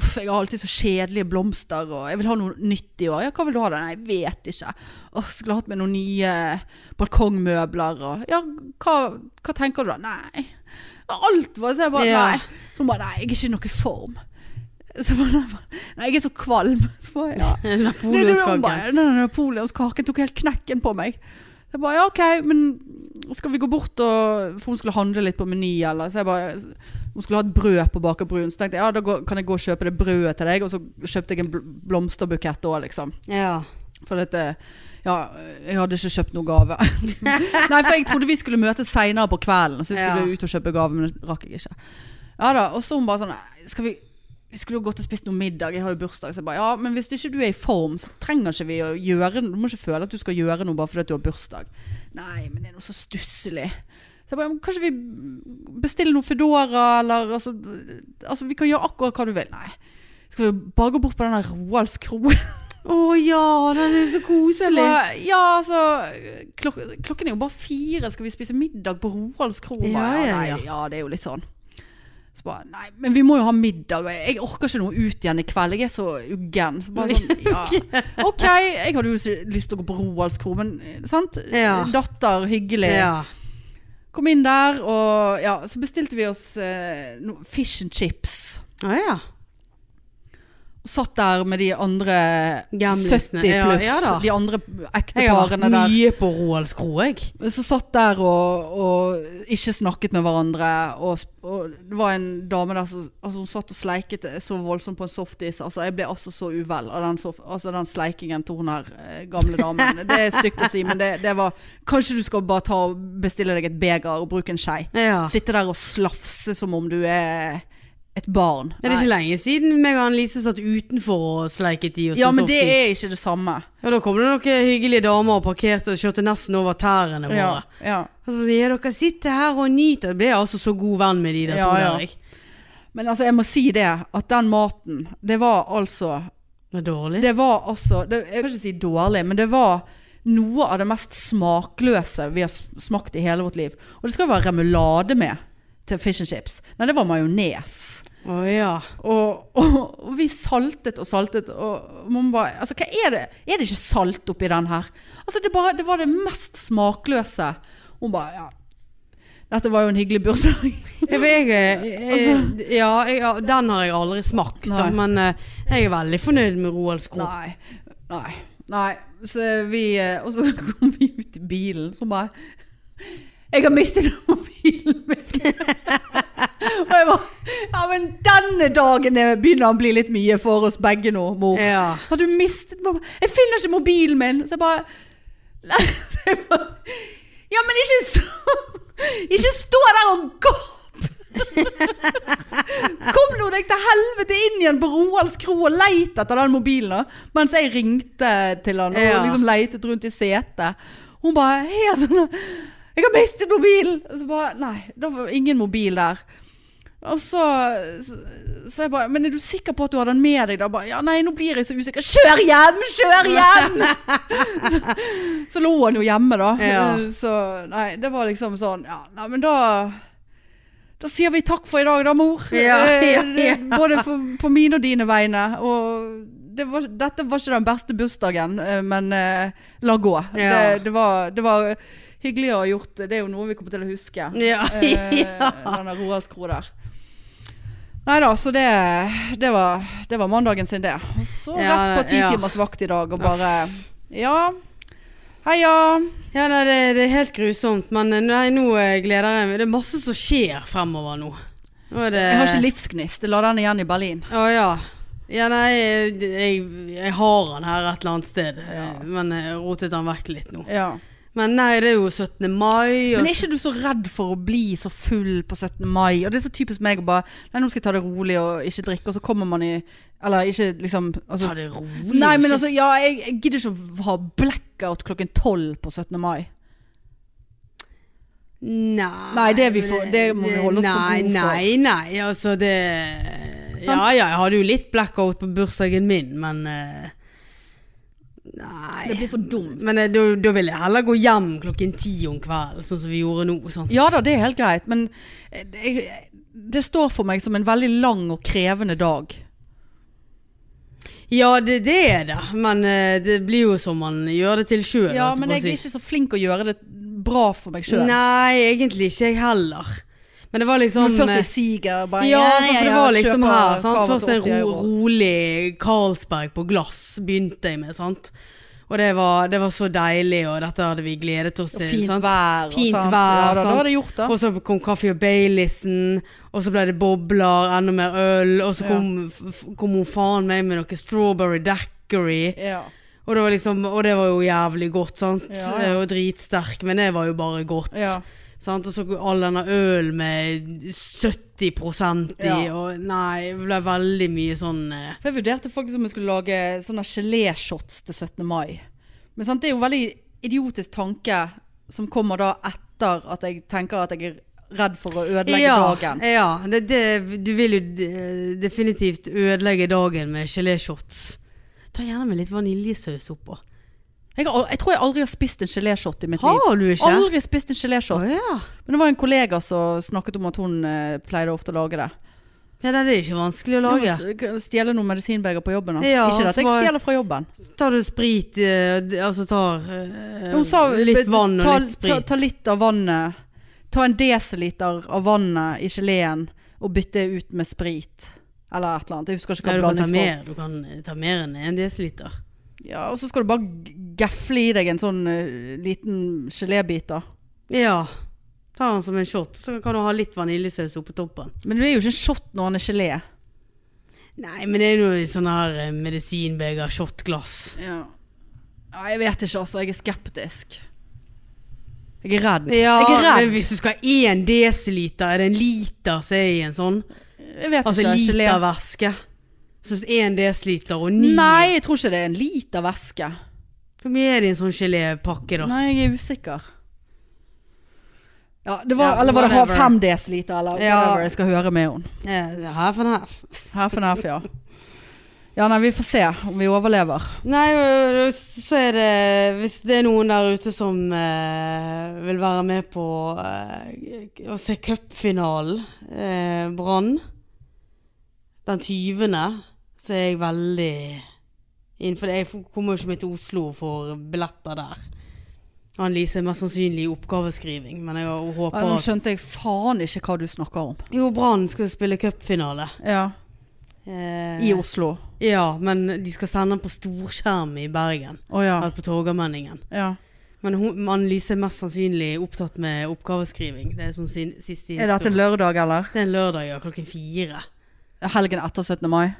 [SPEAKER 1] Uff, jeg har alltid så kjedelige blomster, og jeg vil ha noe nytt i år. Ja, hva vil du ha da? Nei, jeg vet ikke. Åh, skulle hatt med noen nye balkongmøbler og Ja, hva, hva tenker du da? Nei. Alt var så jeg bare
[SPEAKER 2] Ja.
[SPEAKER 1] Nei. Så hun bare Nei, jeg er ikke i noen form. Så jeg bare, nei, jeg er så kvalm. Så bare, ja. Nei, det- hun
[SPEAKER 2] Napoleonskaken.
[SPEAKER 1] bare, Den napoleonskaken tok helt knekken på meg. Jeg bare, ja ok, men skal vi gå bort og For hun skulle handle litt på meny eller Så jeg bare Hun skulle ha et brød på Baker Brun. Så tenkte jeg ja, da går, kan jeg gå og kjøpe det brødet til deg. Og så kjøpte jeg en bl- blomsterbukett òg, liksom.
[SPEAKER 2] Ja.
[SPEAKER 1] For dette Ja, jeg hadde ikke kjøpt noe gave. Nei, for jeg trodde vi skulle møtes seinere på kvelden, så jeg skulle
[SPEAKER 2] Ja.
[SPEAKER 1] ut og kjøpe gave, men det rakk jeg ikke. Ja da, Og så hun bare sånn «Nei, Skal vi vi skulle jo gått og spist noe middag, jeg har jo bursdag. Så jeg bare, ja, men hvis ikke du er i form, så trenger ikke vi å gjøre Du må ikke føle at du skal gjøre noe bare fordi at du har bursdag. Nei, men det er noe så stusslig. Så jeg bare, men kanskje vi bestiller noe Foodora, eller altså, altså Vi kan gjøre akkurat hva du vil. Nei. Skal vi bare gå bort på den der Roalds kro?
[SPEAKER 2] Å ja, den er
[SPEAKER 1] Så
[SPEAKER 2] så
[SPEAKER 1] jeg
[SPEAKER 2] koselig.
[SPEAKER 1] bare, ja, altså klok Klokken er jo bare fire, skal vi spise middag på Roalds kro?
[SPEAKER 2] Ja,
[SPEAKER 1] Bare,
[SPEAKER 2] ja,
[SPEAKER 1] nei,
[SPEAKER 2] ja.
[SPEAKER 1] ja, det er jo litt sånn. Så bare, nei, men vi må jo ha middag. og Jeg orker ikke noe ut igjen i kveld. Jeg er så uggen. Så bare sånn, ja. OK, jeg hadde jo ikke lyst til å gå på Roalds kro, men eh, sant?
[SPEAKER 2] Ja.
[SPEAKER 1] Datter, hyggelig.
[SPEAKER 2] Ja.
[SPEAKER 1] Kom inn der, og ja, så bestilte vi oss eh, no, fish and chips.
[SPEAKER 2] Å ja.
[SPEAKER 1] Og satt der med de andre 70
[SPEAKER 2] Gamlisene.
[SPEAKER 1] pluss,
[SPEAKER 2] Ja, ja da.
[SPEAKER 1] de andre ekte
[SPEAKER 2] Jeg har vært
[SPEAKER 1] parene der.
[SPEAKER 2] mye på Roalds kro, jeg.
[SPEAKER 1] Men Så satt der og, og ikke snakket med hverandre, og, sp- og det var en dame der som altså hun satt og sleiket så voldsomt på en softis. Altså, jeg ble altså så uvel av den, sof altså, den sleikingen til hun her eh, gamle damen. Det er stygt å si, men det, det var Kanskje du skal bare ta og bestille deg et beger og bruke en skei.
[SPEAKER 2] Ja.
[SPEAKER 1] Sitte der og slafse som om du er et barn.
[SPEAKER 2] Er det ikke lenge siden meg og Annelise satt utenfor og sleiket i oss
[SPEAKER 1] ja,
[SPEAKER 2] en
[SPEAKER 1] men det
[SPEAKER 2] softis?
[SPEAKER 1] er ikke det samme.
[SPEAKER 2] Ja, da kom det noen hyggelige damer og parkerte og kjørte nesten over tærne våre.
[SPEAKER 1] Ja, ja.
[SPEAKER 2] Og så sier jeg, dere sitter her og nyter. Jeg ble altså så god venn med de der
[SPEAKER 1] Ja,
[SPEAKER 2] to
[SPEAKER 1] ja.
[SPEAKER 2] der. Jeg.
[SPEAKER 1] Men altså, jeg må si det, at den maten, det var altså
[SPEAKER 2] Det var dårlig.
[SPEAKER 1] Det var altså det, Jeg kan ikke si dårlig, men det var noe av det mest smakløse vi har s- smakt i hele vårt liv. Og det skal være remulade med til fish and chips. Nei, det var majones.
[SPEAKER 2] Å ja.
[SPEAKER 1] Og, og, og vi saltet og saltet, og man bare Altså, hva er det? Er det ikke salt oppi den her? Altså, det, bare, det var det mest smakløse. Hun bare Ja. Dette var jo en hyggelig bursdag.
[SPEAKER 2] Jeg, jeg, jeg, ja, jeg, ja, den har jeg aldri smakt, da,
[SPEAKER 1] Altså- Nei.
[SPEAKER 2] men eh, jeg er veldig fornøyd med Roalds kro.
[SPEAKER 1] Nei. Nei. Nei. Så vi, eh, og så kom vi ut i bilen, så bare Jeg har mistet mobilen min! og jeg bare Ja, men denne dagen er- begynner han å bli litt mye for oss begge nå, mor.
[SPEAKER 2] Ja.
[SPEAKER 1] Har du mistet mamma? Jeg finner ikke mobilen min! Så jeg bare Så jeg bare Ja, men ikke stå Ikke stå der og gap! Kom nå deg til helvete inn igjen på Roalds kro og leit etter den mobilen. da. Mens jeg ringte til han og
[SPEAKER 2] Ja.
[SPEAKER 1] liksom leitet rundt i setet. Hun bare helt sånn Jeg har mistet mobilen! Og så bare Nei, det var ingen mobil der. Og så, så, så jeg bare Men er du sikker på at du har den med deg? Da bare Ja, nei, nå blir jeg så usikker. Kjør hjem! Kjør hjem! så, så lå han jo hjemme, da.
[SPEAKER 2] Ja.
[SPEAKER 1] Så nei, det var liksom sånn Ja, nei, men da da sier vi takk for i dag da, mor.
[SPEAKER 2] Ja,
[SPEAKER 1] Eh,
[SPEAKER 2] ja, ja.
[SPEAKER 1] Både for, for mine og dine vegne. Og det var, dette var ikke den beste bursdagen, eh, men eh, la gå.
[SPEAKER 2] Ja.
[SPEAKER 1] Det, det, var, det var hyggelig å ha gjort det. Det er jo noe vi kommer til å huske.
[SPEAKER 2] Ja.
[SPEAKER 1] Eh, Denne Roalds kro der. Nei da, så det, det, var, det var mandagen sin, det. Og så
[SPEAKER 2] Ja,
[SPEAKER 1] rett på ti
[SPEAKER 2] ja.
[SPEAKER 1] timers vakt i dag og bare Ja. Heia.
[SPEAKER 2] Ja, nei, det, det er helt grusomt, men eh, nei, nå eh, gleder jeg meg. Det er masse som skjer fremover nå. nå er det,
[SPEAKER 1] Jeg har ikke livsgnist. Jeg la den igjen i Berlin.
[SPEAKER 2] Å ja. Ja, nei, eh, det- jeg, jeg har han her et eller annet sted, eh, men jeg rotet han vekk litt nå.
[SPEAKER 1] Ja.
[SPEAKER 2] Men nei, det er jo 17. mai. Og,
[SPEAKER 1] Men er ikke du så redd for å bli så full på 17. mai? Og det er så typisk meg å bare Nei, nå skal jeg ta det rolig og ikke drikke, og så kommer man i Eller ikke liksom altså,
[SPEAKER 2] ta det rolig.
[SPEAKER 1] Nei, men
[SPEAKER 2] ikke-
[SPEAKER 1] altså, ja, jeg, jeg gidder ikke å ha blackout klokken tolv på 17. mai.
[SPEAKER 2] Nei,
[SPEAKER 1] Nei, det er vi for- det må vi holde oss for
[SPEAKER 2] nei,
[SPEAKER 1] gode for. Sånn.
[SPEAKER 2] Nei, nei, altså det Ja, ja, jeg hadde jo litt blackout på bursdagen min, men eh,
[SPEAKER 1] Det
[SPEAKER 2] Nei.
[SPEAKER 1] blir for dumt.
[SPEAKER 2] Men eh, da, da vil jeg heller gå hjem klokken ti om kvelden, sånn som vi gjorde nå. Sant?
[SPEAKER 1] Ja da, det er helt greit, men eh, jeg, det står for meg som en veldig lang og krevende dag.
[SPEAKER 2] Ja, det, det er det, men eh, det blir jo som man gjør det til sjøl.
[SPEAKER 1] Ja, men jeg er ikke så flink å gjøre det bra for meg sjøl.
[SPEAKER 2] Nei, egentlig ikke jeg heller. Men det var liksom
[SPEAKER 1] Men først i siger. Bare, sånn»,
[SPEAKER 2] ja, altså, for det var liksom
[SPEAKER 1] kjøper
[SPEAKER 2] her.
[SPEAKER 1] kava
[SPEAKER 2] Sant?
[SPEAKER 1] til
[SPEAKER 2] Først en
[SPEAKER 1] 80
[SPEAKER 2] ro,
[SPEAKER 1] euro.
[SPEAKER 2] rolig Carlsberg på glass begynte jeg med, sant. Og det var, det var så deilig, og dette hadde vi gledet oss
[SPEAKER 1] Og
[SPEAKER 2] til.
[SPEAKER 1] Fint
[SPEAKER 2] sant?
[SPEAKER 1] vær. og
[SPEAKER 2] Fint
[SPEAKER 1] sant?
[SPEAKER 2] vær,
[SPEAKER 1] Ja, da, da
[SPEAKER 2] sant?
[SPEAKER 1] var det gjort, da.
[SPEAKER 2] Og sånn. så kom kaffe og Baileysen, og så ble det bobler, enda mer øl, og så
[SPEAKER 1] Ja.
[SPEAKER 2] kom, f- kom hun faen meg med noe strawberry daiquiri.
[SPEAKER 1] Ja.
[SPEAKER 2] Og det var, liksom, og det var jo jævlig godt, sant?
[SPEAKER 1] Ja, ja.
[SPEAKER 2] Eh, Og dritsterk, men det var jo bare godt.
[SPEAKER 1] Ja.
[SPEAKER 2] Sant? Og så all denne øl med 70 i,
[SPEAKER 1] Ja.
[SPEAKER 2] og nei, det ble veldig mye sånn eh,
[SPEAKER 1] For jeg vurderte faktisk om jeg skulle lage sånne geléshots til 17. mai. Men sant, det er jo veldig idiotisk tanke som kommer da etter at jeg tenker at jeg er redd for å ødelegge dagen.
[SPEAKER 2] ja det, det, du vil jo eh, definitivt ødelegge dagen med geléshots. Ta gjerne med litt vaniljesaus oppå.
[SPEAKER 1] Jeg, har, al- jeg tror jeg aldri har spist en geléshot i mitt liv.
[SPEAKER 2] Har du ikke?
[SPEAKER 1] Aldri spist en geléshot.
[SPEAKER 2] Å, ja.
[SPEAKER 1] Men det var en kollega som snakket om at hun eh, pleide ofte å lage det.
[SPEAKER 2] ja, det er ikke vanskelig å
[SPEAKER 1] Jeg
[SPEAKER 2] lage.
[SPEAKER 1] må s- Stjele noen medisinbeger på jobben. da.
[SPEAKER 2] Ja,
[SPEAKER 1] ikke det at
[SPEAKER 2] så
[SPEAKER 1] jeg
[SPEAKER 2] var-
[SPEAKER 1] stjeler fra jobben.
[SPEAKER 2] Tar du sprit, eh, d- altså tar eh,
[SPEAKER 1] Hun sa
[SPEAKER 2] litt vann og
[SPEAKER 1] ta,
[SPEAKER 2] litt sprit.
[SPEAKER 1] Ta, ta litt av vannet. Ta en desiliter av vannet i geleen og bytte ut med sprit. Eller et eller annet. Jeg husker ikke
[SPEAKER 2] ja,
[SPEAKER 1] hva
[SPEAKER 2] du, kan ta
[SPEAKER 1] blandingsform.
[SPEAKER 2] mer, du kan eh, ta mer enn en desiliter.
[SPEAKER 1] Ja, og så skal du bare g- gefle i deg en sånn eh, liten gelébit, da.
[SPEAKER 2] Ja. Ta den som en shot, så kan du ha litt vaniljesaus oppå toppen.
[SPEAKER 1] Men det er jo ikke en shot når han er gelé.
[SPEAKER 2] Nei, men det er jo i sånn her eh, medisinbeger, shotglass.
[SPEAKER 1] Ja. Nei, jeg vet ikke, altså. Jeg er skeptisk. Jeg er redd.
[SPEAKER 2] Ja,
[SPEAKER 1] jeg er
[SPEAKER 2] men
[SPEAKER 1] redd.
[SPEAKER 2] hvis du skal ha én desiliter, er det en liter som er i en sånn?
[SPEAKER 1] Jeg vet
[SPEAKER 2] Altså
[SPEAKER 1] ikke. gelé.
[SPEAKER 2] liter væske. Så én desiliter og ni
[SPEAKER 1] Nei, jeg tror ikke det er en liter væske.
[SPEAKER 2] Hvor mye er det i en sånn gelépakke, da?
[SPEAKER 1] Nei, jeg er usikker. Ja, det var,
[SPEAKER 2] Ja,
[SPEAKER 1] eller var det ha-
[SPEAKER 2] whatever.
[SPEAKER 1] fem desiliter, eller
[SPEAKER 2] Ja.
[SPEAKER 1] whatever jeg skal høre med henne.
[SPEAKER 2] Eh, Half and half.
[SPEAKER 1] Her for nerf, ja. Ja, nei, vi får se om vi overlever.
[SPEAKER 2] Nei, ø- ø- så er det Hvis det er noen der ute som eh, vil være med på eh, å se cupfinalen, eh, Brann, den 20., så er jeg veldig innenfor det. Jeg f- kommer jo ikke med til Oslo for billetter der. Han Lise er mest sannsynlig i oppgaveskriving, men jeg
[SPEAKER 1] Ja,
[SPEAKER 2] håper
[SPEAKER 1] Nå
[SPEAKER 2] at
[SPEAKER 1] skjønte jeg faen ikke hva du snakker om.
[SPEAKER 2] Jo, Brann skal jo spille cupfinale.
[SPEAKER 1] Ja,
[SPEAKER 2] Eh,
[SPEAKER 1] I Oslo.
[SPEAKER 2] Ja, men de skal sende den på storskjerm i Bergen.
[SPEAKER 1] Å ja.
[SPEAKER 2] Her på Torgallmenningen.
[SPEAKER 1] ja.
[SPEAKER 2] Men hun, Anne-Lise er mest sannsynlig opptatt med oppgaveskriving. Det er sånn sin, siste
[SPEAKER 1] Er dette en
[SPEAKER 2] innspurt.
[SPEAKER 1] lørdag, eller?
[SPEAKER 2] Det er en lørdag, ja. Klokken fire.
[SPEAKER 1] Helgen etter 17. mai?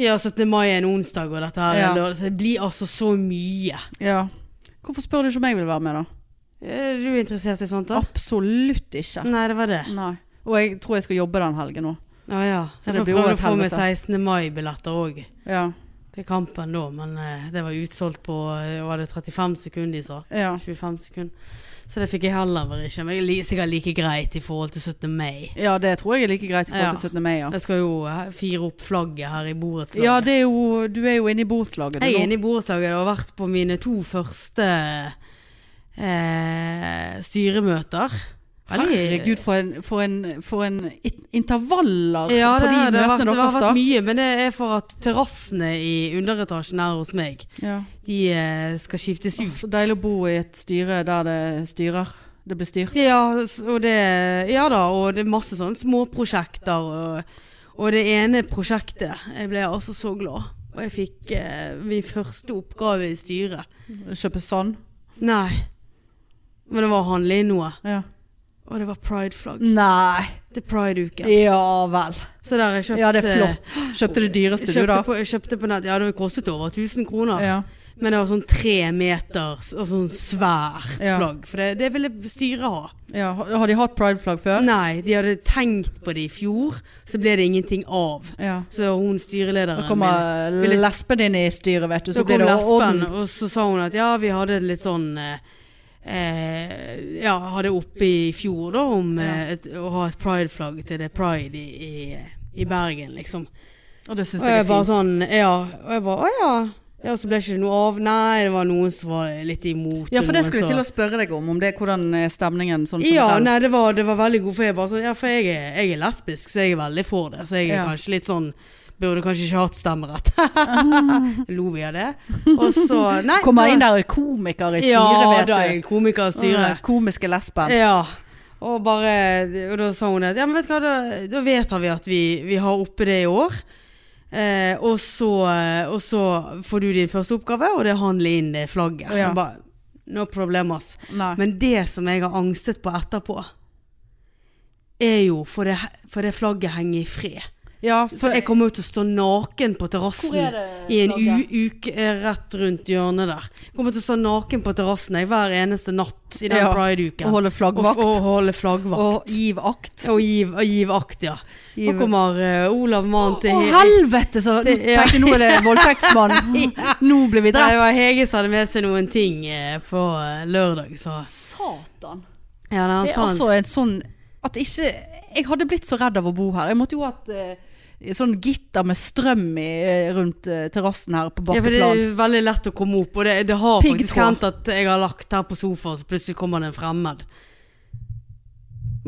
[SPEAKER 2] Ja, 17. mai er en onsdag, og dette her er
[SPEAKER 1] Ja.
[SPEAKER 2] en lørdag. Så det blir altså så mye.
[SPEAKER 1] Ja. Hvorfor spør du ikke om jeg vil være med, da?
[SPEAKER 2] Er du interessert i sånt, da?
[SPEAKER 1] Absolutt ikke.
[SPEAKER 2] Nei, det var det.
[SPEAKER 1] Nei. Og jeg tror jeg skal jobbe den helgen òg.
[SPEAKER 2] Å ja.
[SPEAKER 1] Så det
[SPEAKER 2] jeg får
[SPEAKER 1] blir
[SPEAKER 2] prøve
[SPEAKER 1] over
[SPEAKER 2] å få med
[SPEAKER 1] helvete.
[SPEAKER 2] 16. mai-billetter òg.
[SPEAKER 1] Ja.
[SPEAKER 2] Til kampen da, men eh, det var utsolgt på eh, Var det 35 sekunder de sa?
[SPEAKER 1] ja.
[SPEAKER 2] 25 sekunder. Så det fikk jeg heller ikke. Men jeg er li- sikkert like greit i forhold til 17. mai.
[SPEAKER 1] Ja, det tror jeg er like greit i forhold til 17. mai, ja.
[SPEAKER 2] Jeg skal jo eh, fire opp flagget her i borettslaget.
[SPEAKER 1] Ja, det er jo, du er jo inne i borettslaget. du
[SPEAKER 2] Jeg er
[SPEAKER 1] nå.
[SPEAKER 2] inne i borettslaget og har vært på mine to første eh, styremøter. Veldig-
[SPEAKER 1] Herregud, for en, for en, for en it- intervaller
[SPEAKER 2] Ja, det,
[SPEAKER 1] på de
[SPEAKER 2] er- det, har
[SPEAKER 1] møtene
[SPEAKER 2] vært, det har
[SPEAKER 1] deres, da.
[SPEAKER 2] vært mye, men det er for at terrassene i underetasjen her hos meg,
[SPEAKER 1] Ja.
[SPEAKER 2] de eh, skal skiftes ut.
[SPEAKER 1] Så deilig å bo i et styre der det styrer. Det blir styrt.
[SPEAKER 2] Ja, s- og det, ja da, og det er masse sånne småprosjekter. Og, og det ene prosjektet Jeg ble altså så glad. Og jeg fikk eh, min første oppgave i styret.
[SPEAKER 1] Kjøpe sand.
[SPEAKER 2] Nei. Men det var å handle inn noe.
[SPEAKER 1] Ja.
[SPEAKER 2] Og det var prideflagg.
[SPEAKER 1] Nei.
[SPEAKER 2] Til prideuken.
[SPEAKER 1] Ja vel.
[SPEAKER 2] Så der har jeg kjøpt
[SPEAKER 1] Ja, det er
[SPEAKER 2] eh,
[SPEAKER 1] flott. Kjøpte det dyreste du,
[SPEAKER 2] Kjøpte
[SPEAKER 1] da.
[SPEAKER 2] på, kjøpte på nett. Ja, det kostet over 1000 kroner.
[SPEAKER 1] Ja.
[SPEAKER 2] Men det var sånn tre meter og sånn svært
[SPEAKER 1] Ja.
[SPEAKER 2] flagg. For det, det ville styret ha.
[SPEAKER 1] Ja. Har har de hatt prideflagg før?
[SPEAKER 2] Nei, de hadde tenkt på det i fjor, så ble det ingenting av.
[SPEAKER 1] Ja.
[SPEAKER 2] Så hun styrelederen
[SPEAKER 1] Da kommer
[SPEAKER 2] Ville-
[SPEAKER 1] lesben inn i styret, vet du.
[SPEAKER 2] min,
[SPEAKER 1] Så
[SPEAKER 2] så kom
[SPEAKER 1] blir det
[SPEAKER 2] lesben,
[SPEAKER 1] orden.
[SPEAKER 2] og så sa hun at ja, vi hadde litt sånn eh, eh, Ja, hadde oppe i fjor da om eh, et, å ha et prideflagg til det er pride i, i, i Bergen, liksom.
[SPEAKER 1] Og det syns
[SPEAKER 2] Og
[SPEAKER 1] jeg
[SPEAKER 2] jeg
[SPEAKER 1] er
[SPEAKER 2] bare
[SPEAKER 1] fint.
[SPEAKER 2] sånn Ja. Og jeg bare å ja. Ja, Så ble ikke det noe av. Nei, det var noen som var litt imot.
[SPEAKER 1] Ja, for det
[SPEAKER 2] noen
[SPEAKER 1] skulle jeg
[SPEAKER 2] som-
[SPEAKER 1] til å spørre deg om. Om det, hvordan er stemningen sånn
[SPEAKER 2] Ja,
[SPEAKER 1] generelt?
[SPEAKER 2] nei, det var, det var veldig god, for jeg bare sånn Ja, for jeg er, jeg er lesbisk, så jeg er veldig for det. Så jeg er
[SPEAKER 1] Ja.
[SPEAKER 2] kanskje litt sånn Burde kanskje ikke hatt stemmerett. Lo vi av det? Og så Nei.
[SPEAKER 1] Kommer inn der og er komiker i styret,
[SPEAKER 2] Ja,
[SPEAKER 1] vet
[SPEAKER 2] da er
[SPEAKER 1] du.
[SPEAKER 2] jeg komiker i styret.
[SPEAKER 1] Komiske lesben.
[SPEAKER 2] Ja. Og, bare, og da sa hun at ja, men vet du hva, da, da vedtar vi at vi, vi har oppe det i år. Eh, og, så, og så får du din første oppgave, og det er å handle inn det flagget.
[SPEAKER 1] Ja.
[SPEAKER 2] Og Bare, no problemas.
[SPEAKER 1] Nei.
[SPEAKER 2] Men det som jeg har angstet på etterpå, er jo for det, for det flagget henger i fred.
[SPEAKER 1] ja,
[SPEAKER 2] Så
[SPEAKER 1] for,
[SPEAKER 2] jeg kommer jo til å stå naken på terrassen
[SPEAKER 1] Hvor er det
[SPEAKER 2] i en u
[SPEAKER 1] flagget?
[SPEAKER 2] uke eh, rett rundt hjørnet der. Jeg kommer til å stå naken på terrassen jeg, hver eneste natt i den
[SPEAKER 1] Ja,
[SPEAKER 2] pride-uken.
[SPEAKER 1] og holde flaggvakt.
[SPEAKER 2] Og, f- og holde flaggvakt.
[SPEAKER 1] og giv akt.
[SPEAKER 2] Og giv, og giv akt, ja. Nå
[SPEAKER 1] Giv-
[SPEAKER 2] kommer eh, Olav Mann til
[SPEAKER 1] Å
[SPEAKER 2] He-
[SPEAKER 1] helvete, så
[SPEAKER 2] Det- ja.
[SPEAKER 1] tenkte jeg nå er det voldtektsmann. Nå blir vi
[SPEAKER 2] Nei,
[SPEAKER 1] drept.
[SPEAKER 2] det var Hege som hadde med seg noen ting eh, på eh, lørdag, så
[SPEAKER 1] Satan.
[SPEAKER 2] Ja, nei, han
[SPEAKER 1] Det er
[SPEAKER 2] sa
[SPEAKER 1] altså
[SPEAKER 2] han
[SPEAKER 1] en sånn At ikke Jeg hadde blitt så redd av å bo her. Jeg måtte jo hatt eh, sånn gitter med strøm i, eh, rundt eh, terrassen her på
[SPEAKER 2] ja, for det
[SPEAKER 1] bakkeplan.
[SPEAKER 2] er jo veldig lett å komme opp, og det, det har
[SPEAKER 1] Piggtråd.
[SPEAKER 2] faktisk hendt at jeg har lagt her på sofaen, så plutselig kommer det en fremmed.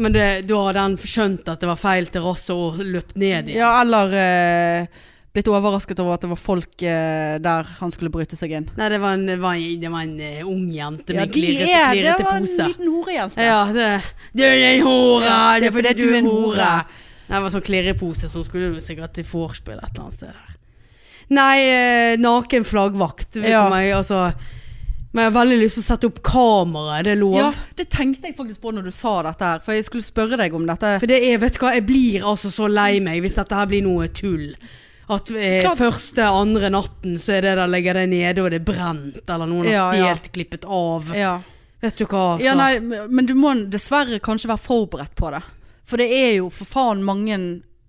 [SPEAKER 2] Men det, da har den skjønt at det var feil terrasse og løpt ned igjen.
[SPEAKER 1] Ja, eller eh, blitt overrasket over at det var folk eh, der han skulle bryte seg inn.
[SPEAKER 2] Nei, det var en, det var en, det var en eh, ung jente med
[SPEAKER 1] Ja,
[SPEAKER 2] ja,
[SPEAKER 1] de
[SPEAKER 2] klirrete,
[SPEAKER 1] er Det
[SPEAKER 2] klirrete
[SPEAKER 1] var en
[SPEAKER 2] pose.
[SPEAKER 1] liten horejente.
[SPEAKER 2] Ja, det Du er en hore!
[SPEAKER 1] Ja,
[SPEAKER 2] det er fordi du er en hore! Nei, det var sånn klirrepose, så hun skulle jo sikkert til vorspiel et eller annet sted her. Nei, eh, naken flaggvakt. Vet
[SPEAKER 1] Ja.
[SPEAKER 2] du meg, altså. Men jeg har veldig lyst til å sette opp kamera, er det lov?
[SPEAKER 1] Ja, det tenkte jeg faktisk på når du sa dette her, for jeg skulle spørre deg om dette.
[SPEAKER 2] For det er, vet du hva, jeg blir altså så lei meg hvis dette her blir noe tull. At eh,
[SPEAKER 1] Klart.
[SPEAKER 2] første, andre natten så er det der legger det nede og det er brent, eller noen
[SPEAKER 1] Ja,
[SPEAKER 2] har
[SPEAKER 1] ja.
[SPEAKER 2] stjålet, klippet av.
[SPEAKER 1] Ja.
[SPEAKER 2] Vet du hva, altså.
[SPEAKER 1] Ja, nei, men du må dessverre kanskje være forberedt på det. For det er jo for faen mange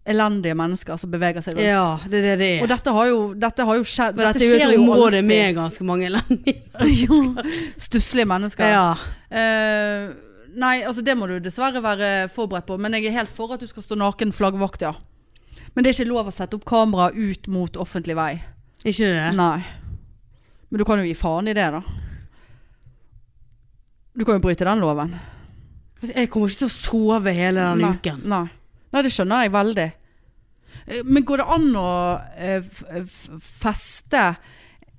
[SPEAKER 1] elendige mennesker som beveger seg rundt.
[SPEAKER 2] Ja, det er det det er.
[SPEAKER 1] Og dette har jo, dette har jo skjedd.
[SPEAKER 2] For dette, er jo et område med ganske mange land.
[SPEAKER 1] med Stusslige mennesker.
[SPEAKER 2] ja.
[SPEAKER 1] Eh, nei, altså det må du dessverre være forberedt på. Men jeg er helt for at du skal stå naken flaggvakt, ja. Men det er ikke lov å sette opp kamera ut mot offentlig vei.
[SPEAKER 2] Ikke det?
[SPEAKER 1] Nei. Men du kan jo gi faen i det, da. Du kan jo bryte den loven.
[SPEAKER 2] Jeg kommer ikke til å sove hele den
[SPEAKER 1] nei,
[SPEAKER 2] uken.
[SPEAKER 1] Nei. nei, det skjønner jeg veldig. Eh, Men går det an å eh, f- f- feste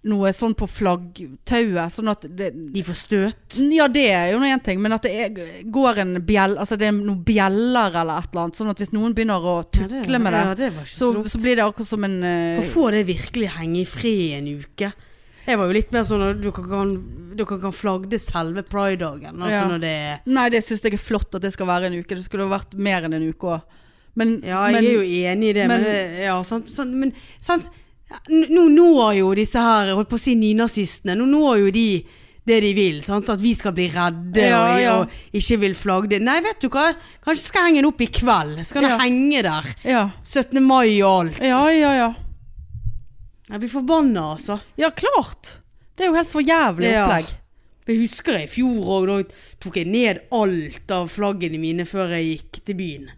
[SPEAKER 1] noe sånn på flaggtauet, sånn at det
[SPEAKER 2] De får støt.
[SPEAKER 1] ja, det er jo én ting, men at det er, går en bjell Altså det er noen bjeller eller et eller annet, sånn at hvis noen begynner å tukle med det,
[SPEAKER 2] Ja, det var ikke
[SPEAKER 1] så,
[SPEAKER 2] så dumt.
[SPEAKER 1] så blir det akkurat som en eh,
[SPEAKER 2] For få det virkelig henge i fred en uke. Jeg var jo litt mer sånn at dere kan, dere kan flagge selve pride-dagen. Altså
[SPEAKER 1] Ja.
[SPEAKER 2] når det er
[SPEAKER 1] Nei, det syns jeg er flott at det skal være en uke. Det skulle jo vært mer enn en uke òg. Men,
[SPEAKER 2] Ja, jeg
[SPEAKER 1] men
[SPEAKER 2] er jo enig i det, men,
[SPEAKER 1] men-
[SPEAKER 2] ja, sant, sant, men sant, N- Nå når jo disse her, holdt på å si nynazistene, nå når jo de det de vil. Sant? At vi skal bli redde
[SPEAKER 1] Ja,
[SPEAKER 2] og,
[SPEAKER 1] ja.
[SPEAKER 2] og ikke vil flagge det. Nei, vet du hva, kanskje skal jeg henge den opp i kveld. Skal
[SPEAKER 1] Ja.
[SPEAKER 2] den henge der.
[SPEAKER 1] ja.
[SPEAKER 2] 17. mai og alt.
[SPEAKER 1] ja, ja, ja.
[SPEAKER 2] Jeg blir forbanna, altså.
[SPEAKER 1] Ja, klart! Det er jo helt for jævlig
[SPEAKER 2] Ja.
[SPEAKER 1] opplegg.
[SPEAKER 2] Jeg husker i fjor òg, da tok jeg ned alt av flaggene mine før jeg gikk til byen.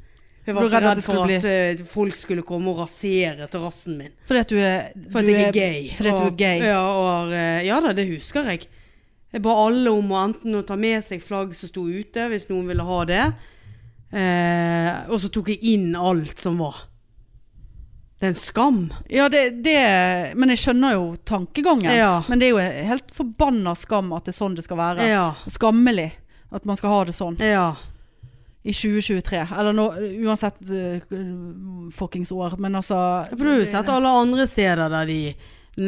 [SPEAKER 2] Jeg var
[SPEAKER 1] Du var redd
[SPEAKER 2] så
[SPEAKER 1] at
[SPEAKER 2] redd
[SPEAKER 1] det
[SPEAKER 2] for
[SPEAKER 1] skulle
[SPEAKER 2] at eh, folk skulle komme og rasere terrassen min.
[SPEAKER 1] Fordi at du er
[SPEAKER 2] For at
[SPEAKER 1] du
[SPEAKER 2] jeg er
[SPEAKER 1] er-
[SPEAKER 2] gay.
[SPEAKER 1] Fordi at du er
[SPEAKER 2] og-
[SPEAKER 1] gay.
[SPEAKER 2] Ja, og, eh, ja da, det husker jeg. Jeg ba alle om å enten å ta med seg flagg som sto ute, hvis noen ville ha det. Eh, og så tok jeg inn alt som var. Det er en skam.
[SPEAKER 1] Ja, det, det Men jeg skjønner jo tankegangen.
[SPEAKER 2] Ja.
[SPEAKER 1] Men det er jo en helt forbanna skam at det er sånn det skal være.
[SPEAKER 2] Ja.
[SPEAKER 1] Skammelig at man skal ha det sånn
[SPEAKER 2] ja.
[SPEAKER 1] i 2023. Eller nå, uansett uh, fuckings år, men altså
[SPEAKER 2] For du har jo sett alle andre steder der de n-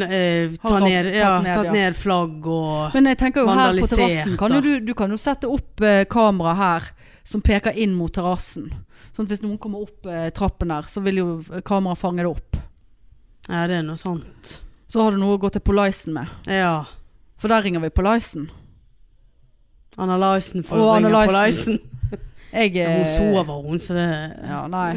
[SPEAKER 2] eh,
[SPEAKER 1] Har
[SPEAKER 2] tar
[SPEAKER 1] ramt-
[SPEAKER 2] ned, ja,
[SPEAKER 1] tatt ned,
[SPEAKER 2] tatt
[SPEAKER 1] ja.
[SPEAKER 2] ned flagg og
[SPEAKER 1] Men jeg tenker jo her på
[SPEAKER 2] Vandalisert,
[SPEAKER 1] terrassen kan
[SPEAKER 2] da.
[SPEAKER 1] jo du, du kan jo sette opp eh, kamera her som peker inn mot terrassen. Sånn at hvis noen kommer opp eh, trappen der, så vil jo eh, kameraet fange det opp.
[SPEAKER 2] Ja, det er noe sånt.
[SPEAKER 1] Så har du noe å gå til Polisen med.
[SPEAKER 2] Ja.
[SPEAKER 1] For der ringer vi Polisen.
[SPEAKER 2] Analysen for
[SPEAKER 1] Og
[SPEAKER 2] å ringe
[SPEAKER 1] Anna
[SPEAKER 2] på
[SPEAKER 1] Lysen.
[SPEAKER 2] Lysen.
[SPEAKER 1] Jeg eh,
[SPEAKER 2] Hun sover, hun, så det
[SPEAKER 1] Ja, nei.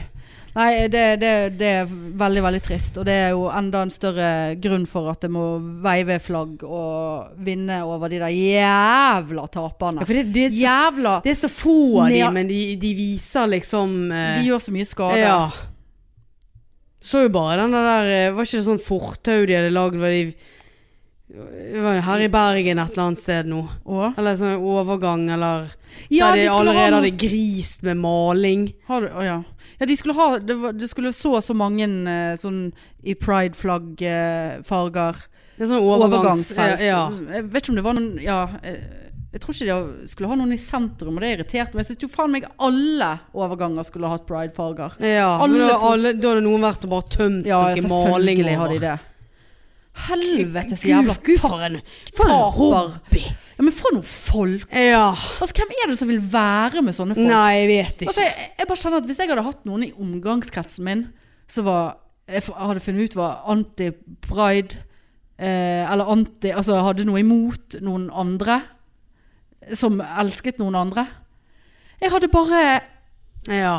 [SPEAKER 1] Nei, det, det, det er veldig, veldig trist. Og det er jo enda en større grunn for at det må veive flagg og vinne over de der jævla
[SPEAKER 2] Ja,
[SPEAKER 1] taperne.
[SPEAKER 2] for det, det, er så-
[SPEAKER 1] Jævla!
[SPEAKER 2] det er så få av
[SPEAKER 1] Nea-
[SPEAKER 2] de, men de, de viser liksom eh,
[SPEAKER 1] De gjør så mye skade.
[SPEAKER 2] Ja. Så jo bare den der eh, Var ikke det sånn fortau de hadde lagd var de, det var her i Bergen et eller annet sted nå?
[SPEAKER 1] Og,
[SPEAKER 2] Eller sånn overgang, eller
[SPEAKER 1] ja,
[SPEAKER 2] Der de,
[SPEAKER 1] de skulle ha
[SPEAKER 2] allerede
[SPEAKER 1] noe-
[SPEAKER 2] hadde grist med maling.
[SPEAKER 1] Har du, å ja. ja, de skulle ha Det, var, det skulle så og så mange eh, sånn i eh, pride-flagg-farger.
[SPEAKER 2] Det er sånn overgangs-
[SPEAKER 1] overgangsfelt.
[SPEAKER 2] Ja, ja.
[SPEAKER 1] Jeg vet ikke om det var noen Ja. eh, Jeg tror ikke de skulle ha noen i sentrum, og det irriterte meg. Jeg synes jo faen meg alle overganger skulle ha hatt pridefarger.
[SPEAKER 2] Ja,
[SPEAKER 1] Alle
[SPEAKER 2] men da,
[SPEAKER 1] som-
[SPEAKER 2] alle, da hadde noen vært og bare tømt
[SPEAKER 1] Ja,
[SPEAKER 2] noe maling
[SPEAKER 1] selvfølgelig har de det. Helvetes jævla
[SPEAKER 2] Gud, for en, for en
[SPEAKER 1] Taper.
[SPEAKER 2] hobby.
[SPEAKER 1] Ja, men for noen folk!
[SPEAKER 2] Ja.
[SPEAKER 1] Altså, hvem er det som vil være med sånne folk?
[SPEAKER 2] Nei, jeg vet ikke.
[SPEAKER 1] Altså, jeg, jeg bare kjenner at hvis jeg hadde hatt noen i omgangskretsen min som var, jeg f- hadde funnet ut var anti-pride, eh, eller anti, altså hadde noe imot noen andre, som elsket noen andre. Jeg hadde bare,
[SPEAKER 2] Ja.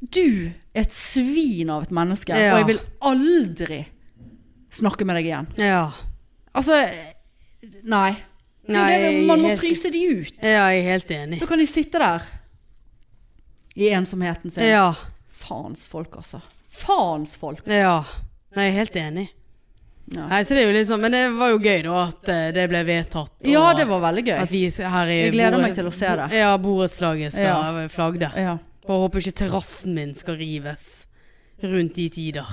[SPEAKER 1] du er et svin av et menneske,
[SPEAKER 2] Ja.
[SPEAKER 1] og jeg vil aldri snakke med deg igjen.
[SPEAKER 2] Ja.
[SPEAKER 1] Altså, nei. Det er jo det,
[SPEAKER 2] Nei,
[SPEAKER 1] man må
[SPEAKER 2] helt-
[SPEAKER 1] fryse de ut.
[SPEAKER 2] ja, jeg er helt enig.
[SPEAKER 1] Så kan de sitte der i ensomheten sin.
[SPEAKER 2] Ja.
[SPEAKER 1] Faens folk, altså. Faens folk.
[SPEAKER 2] Ja. Nei, jeg er helt enig.
[SPEAKER 1] Ja.
[SPEAKER 2] Nei, så det er jo liksom, Men det var jo gøy, da, at eh, det ble vedtatt. og
[SPEAKER 1] Ja, det var veldig
[SPEAKER 2] At
[SPEAKER 1] gøy.
[SPEAKER 2] vi her i
[SPEAKER 1] Jeg gleder
[SPEAKER 2] boret-
[SPEAKER 1] meg til å se det.
[SPEAKER 2] Ja, borettslaget skal
[SPEAKER 1] Ja.
[SPEAKER 2] flagge.
[SPEAKER 1] Ja.
[SPEAKER 2] Bare håper ikke terrassen min skal rives rundt de tider.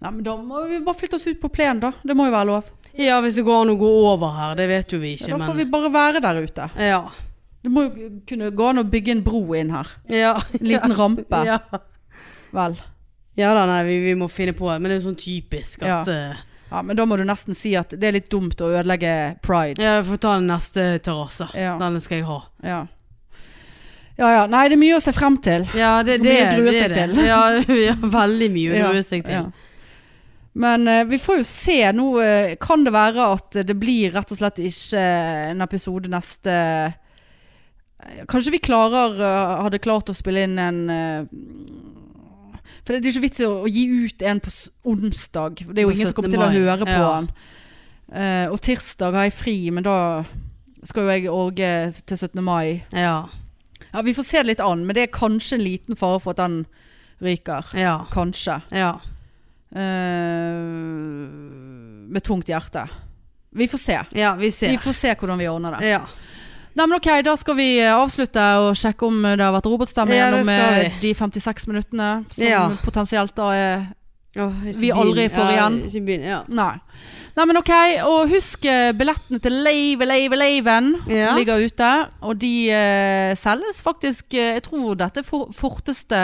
[SPEAKER 1] Nei, men da må vi bare flytte oss ut på plenen, da. Det må jo være lov.
[SPEAKER 2] Ja, hvis det går an å gå over her, det vet jo vi ikke,
[SPEAKER 1] Da får
[SPEAKER 2] men
[SPEAKER 1] vi bare være der ute.
[SPEAKER 2] Ja.
[SPEAKER 1] Det må jo kunne gå an å bygge en bro inn her.
[SPEAKER 2] Ja.
[SPEAKER 1] En liten rampe.
[SPEAKER 2] ja.
[SPEAKER 1] Vel.
[SPEAKER 2] ja da, nei, vi, vi må finne på Men det er jo sånn typisk at eh,
[SPEAKER 1] Ja, men da må du nesten si at det er litt dumt å ødelegge pride.
[SPEAKER 2] Ja, vi får ta den neste terrasse.
[SPEAKER 1] Ja.
[SPEAKER 2] Den skal jeg ha.
[SPEAKER 1] Ja. Ja ja. Nei, det er mye å se frem til.
[SPEAKER 2] Ja, det,
[SPEAKER 1] Nå
[SPEAKER 2] det,
[SPEAKER 1] blir det å grue
[SPEAKER 2] det er
[SPEAKER 1] seg
[SPEAKER 2] det.
[SPEAKER 1] til.
[SPEAKER 2] Ja, ja, veldig mye å
[SPEAKER 1] Ja,
[SPEAKER 2] grue seg til.
[SPEAKER 1] ja. Men eh, vi får jo se. Nå eh, kan det være at det blir rett og slett ikke eh, en episode neste eh, Kanskje vi klarer eh, hadde klart å spille inn en eh, For det er ikke vits i å, å gi ut en på s- onsdag. Det er jo
[SPEAKER 2] På
[SPEAKER 1] ingen som
[SPEAKER 2] 17.
[SPEAKER 1] kommer til å
[SPEAKER 2] mai.
[SPEAKER 1] høre på
[SPEAKER 2] Ja.
[SPEAKER 1] den. Eh, og tirsdag har jeg fri, men da skal jo jeg orge til 17. mai.
[SPEAKER 2] Ja.
[SPEAKER 1] Ja, Vi får se det litt an, men det er kanskje en liten fare for at den ryker.
[SPEAKER 2] Ja.
[SPEAKER 1] Kanskje.
[SPEAKER 2] ja.
[SPEAKER 1] Eh, med tungt hjerte. Vi får se.
[SPEAKER 2] ja vi
[SPEAKER 1] Vi
[SPEAKER 2] ser.
[SPEAKER 1] får se hvordan vi ordner det.
[SPEAKER 2] Ja.
[SPEAKER 1] Nei, men ok, Da skal vi eh, avslutte og sjekke om det har vært robotstemme
[SPEAKER 2] Ja, det
[SPEAKER 1] gjennom
[SPEAKER 2] skal
[SPEAKER 1] eh, de 56 minuttene som
[SPEAKER 2] Ja.
[SPEAKER 1] potensielt da er
[SPEAKER 2] Åh, ikke
[SPEAKER 1] Vi aldri
[SPEAKER 2] begynn.
[SPEAKER 1] får
[SPEAKER 2] ja,
[SPEAKER 1] igjen.
[SPEAKER 2] Ikke begynn, ja.
[SPEAKER 1] Nei. Nei, men ok. Og husk eh, billettene til Lave Lave Laven
[SPEAKER 2] Ja.
[SPEAKER 1] ligger ute. Og de eh, selges faktisk eh, Jeg tror dette er for, forteste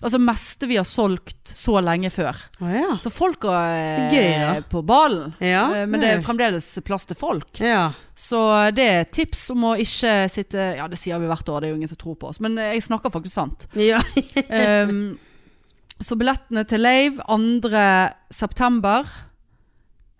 [SPEAKER 1] Altså meste vi har solgt så lenge før.
[SPEAKER 2] Å ja.
[SPEAKER 1] Så folk er
[SPEAKER 2] Gøy, da.
[SPEAKER 1] på ballen.
[SPEAKER 2] Ja,
[SPEAKER 1] Eh, Men det er fremdeles plass til folk.
[SPEAKER 2] ja.
[SPEAKER 1] Så det er et tips om å ikke sitte Ja, det sier vi hvert år, det er jo ingen som tror på oss. Men jeg snakker faktisk sant.
[SPEAKER 2] ja.
[SPEAKER 1] Um, så billettene til Lave 2.9.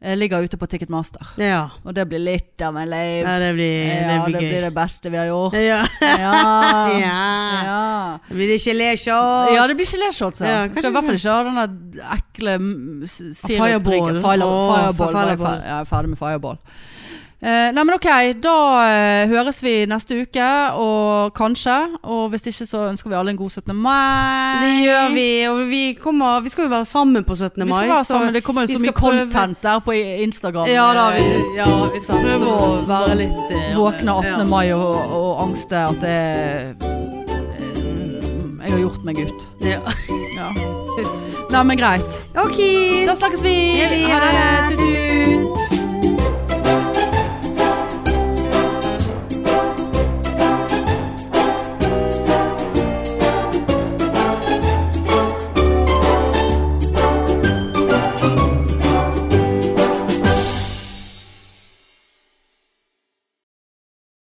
[SPEAKER 1] eh, ligger ute på Ticketmaster.
[SPEAKER 2] ja.
[SPEAKER 1] Og det blir litt av en Lave.
[SPEAKER 2] Ja, det blir, det
[SPEAKER 1] Ja,
[SPEAKER 2] blir
[SPEAKER 1] det
[SPEAKER 2] gøy.
[SPEAKER 1] blir det beste vi har gjort.
[SPEAKER 2] Ja.
[SPEAKER 1] Ja.
[SPEAKER 2] ja.
[SPEAKER 1] ja.
[SPEAKER 2] Det blir det geléshow?
[SPEAKER 1] Ja, det blir geléshots. Ja.
[SPEAKER 2] Ja,
[SPEAKER 1] Ja, skal i
[SPEAKER 2] kanskje
[SPEAKER 1] hvert fall ikke ha den der ekle mm, s-
[SPEAKER 2] fireball.
[SPEAKER 1] sirupdrinken. Fire-
[SPEAKER 2] Åh,
[SPEAKER 1] Fireball. var jeg
[SPEAKER 2] fireball.
[SPEAKER 1] fer- Ja, jeg er ferdig med fireball. Eh, nei, men ok, da eh, høres vi neste uke, og kanskje. Og hvis ikke, så ønsker vi alle en god 17. mai.
[SPEAKER 2] Det gjør vi, og vi, kommer, vi skal jo være sammen på 17.
[SPEAKER 1] Vi
[SPEAKER 2] mai.
[SPEAKER 1] skal være
[SPEAKER 2] så
[SPEAKER 1] sammen. Det kommer
[SPEAKER 2] vi
[SPEAKER 1] jo så
[SPEAKER 2] skal
[SPEAKER 1] mye content der på i- Instagram.
[SPEAKER 2] Ja da, vi,
[SPEAKER 1] Eh,
[SPEAKER 2] ja, vi skal prøve å være litt eh,
[SPEAKER 1] Våkne 18.
[SPEAKER 2] ja.
[SPEAKER 1] mai og, og angste at det er eh, Jeg har gjort meg ut.
[SPEAKER 2] Ja.
[SPEAKER 1] Ja. Nei, men greit.
[SPEAKER 2] OK.
[SPEAKER 1] Da snakkes vi.
[SPEAKER 2] Hei,
[SPEAKER 1] Ha det.
[SPEAKER 2] hei.
[SPEAKER 1] Tut-tut.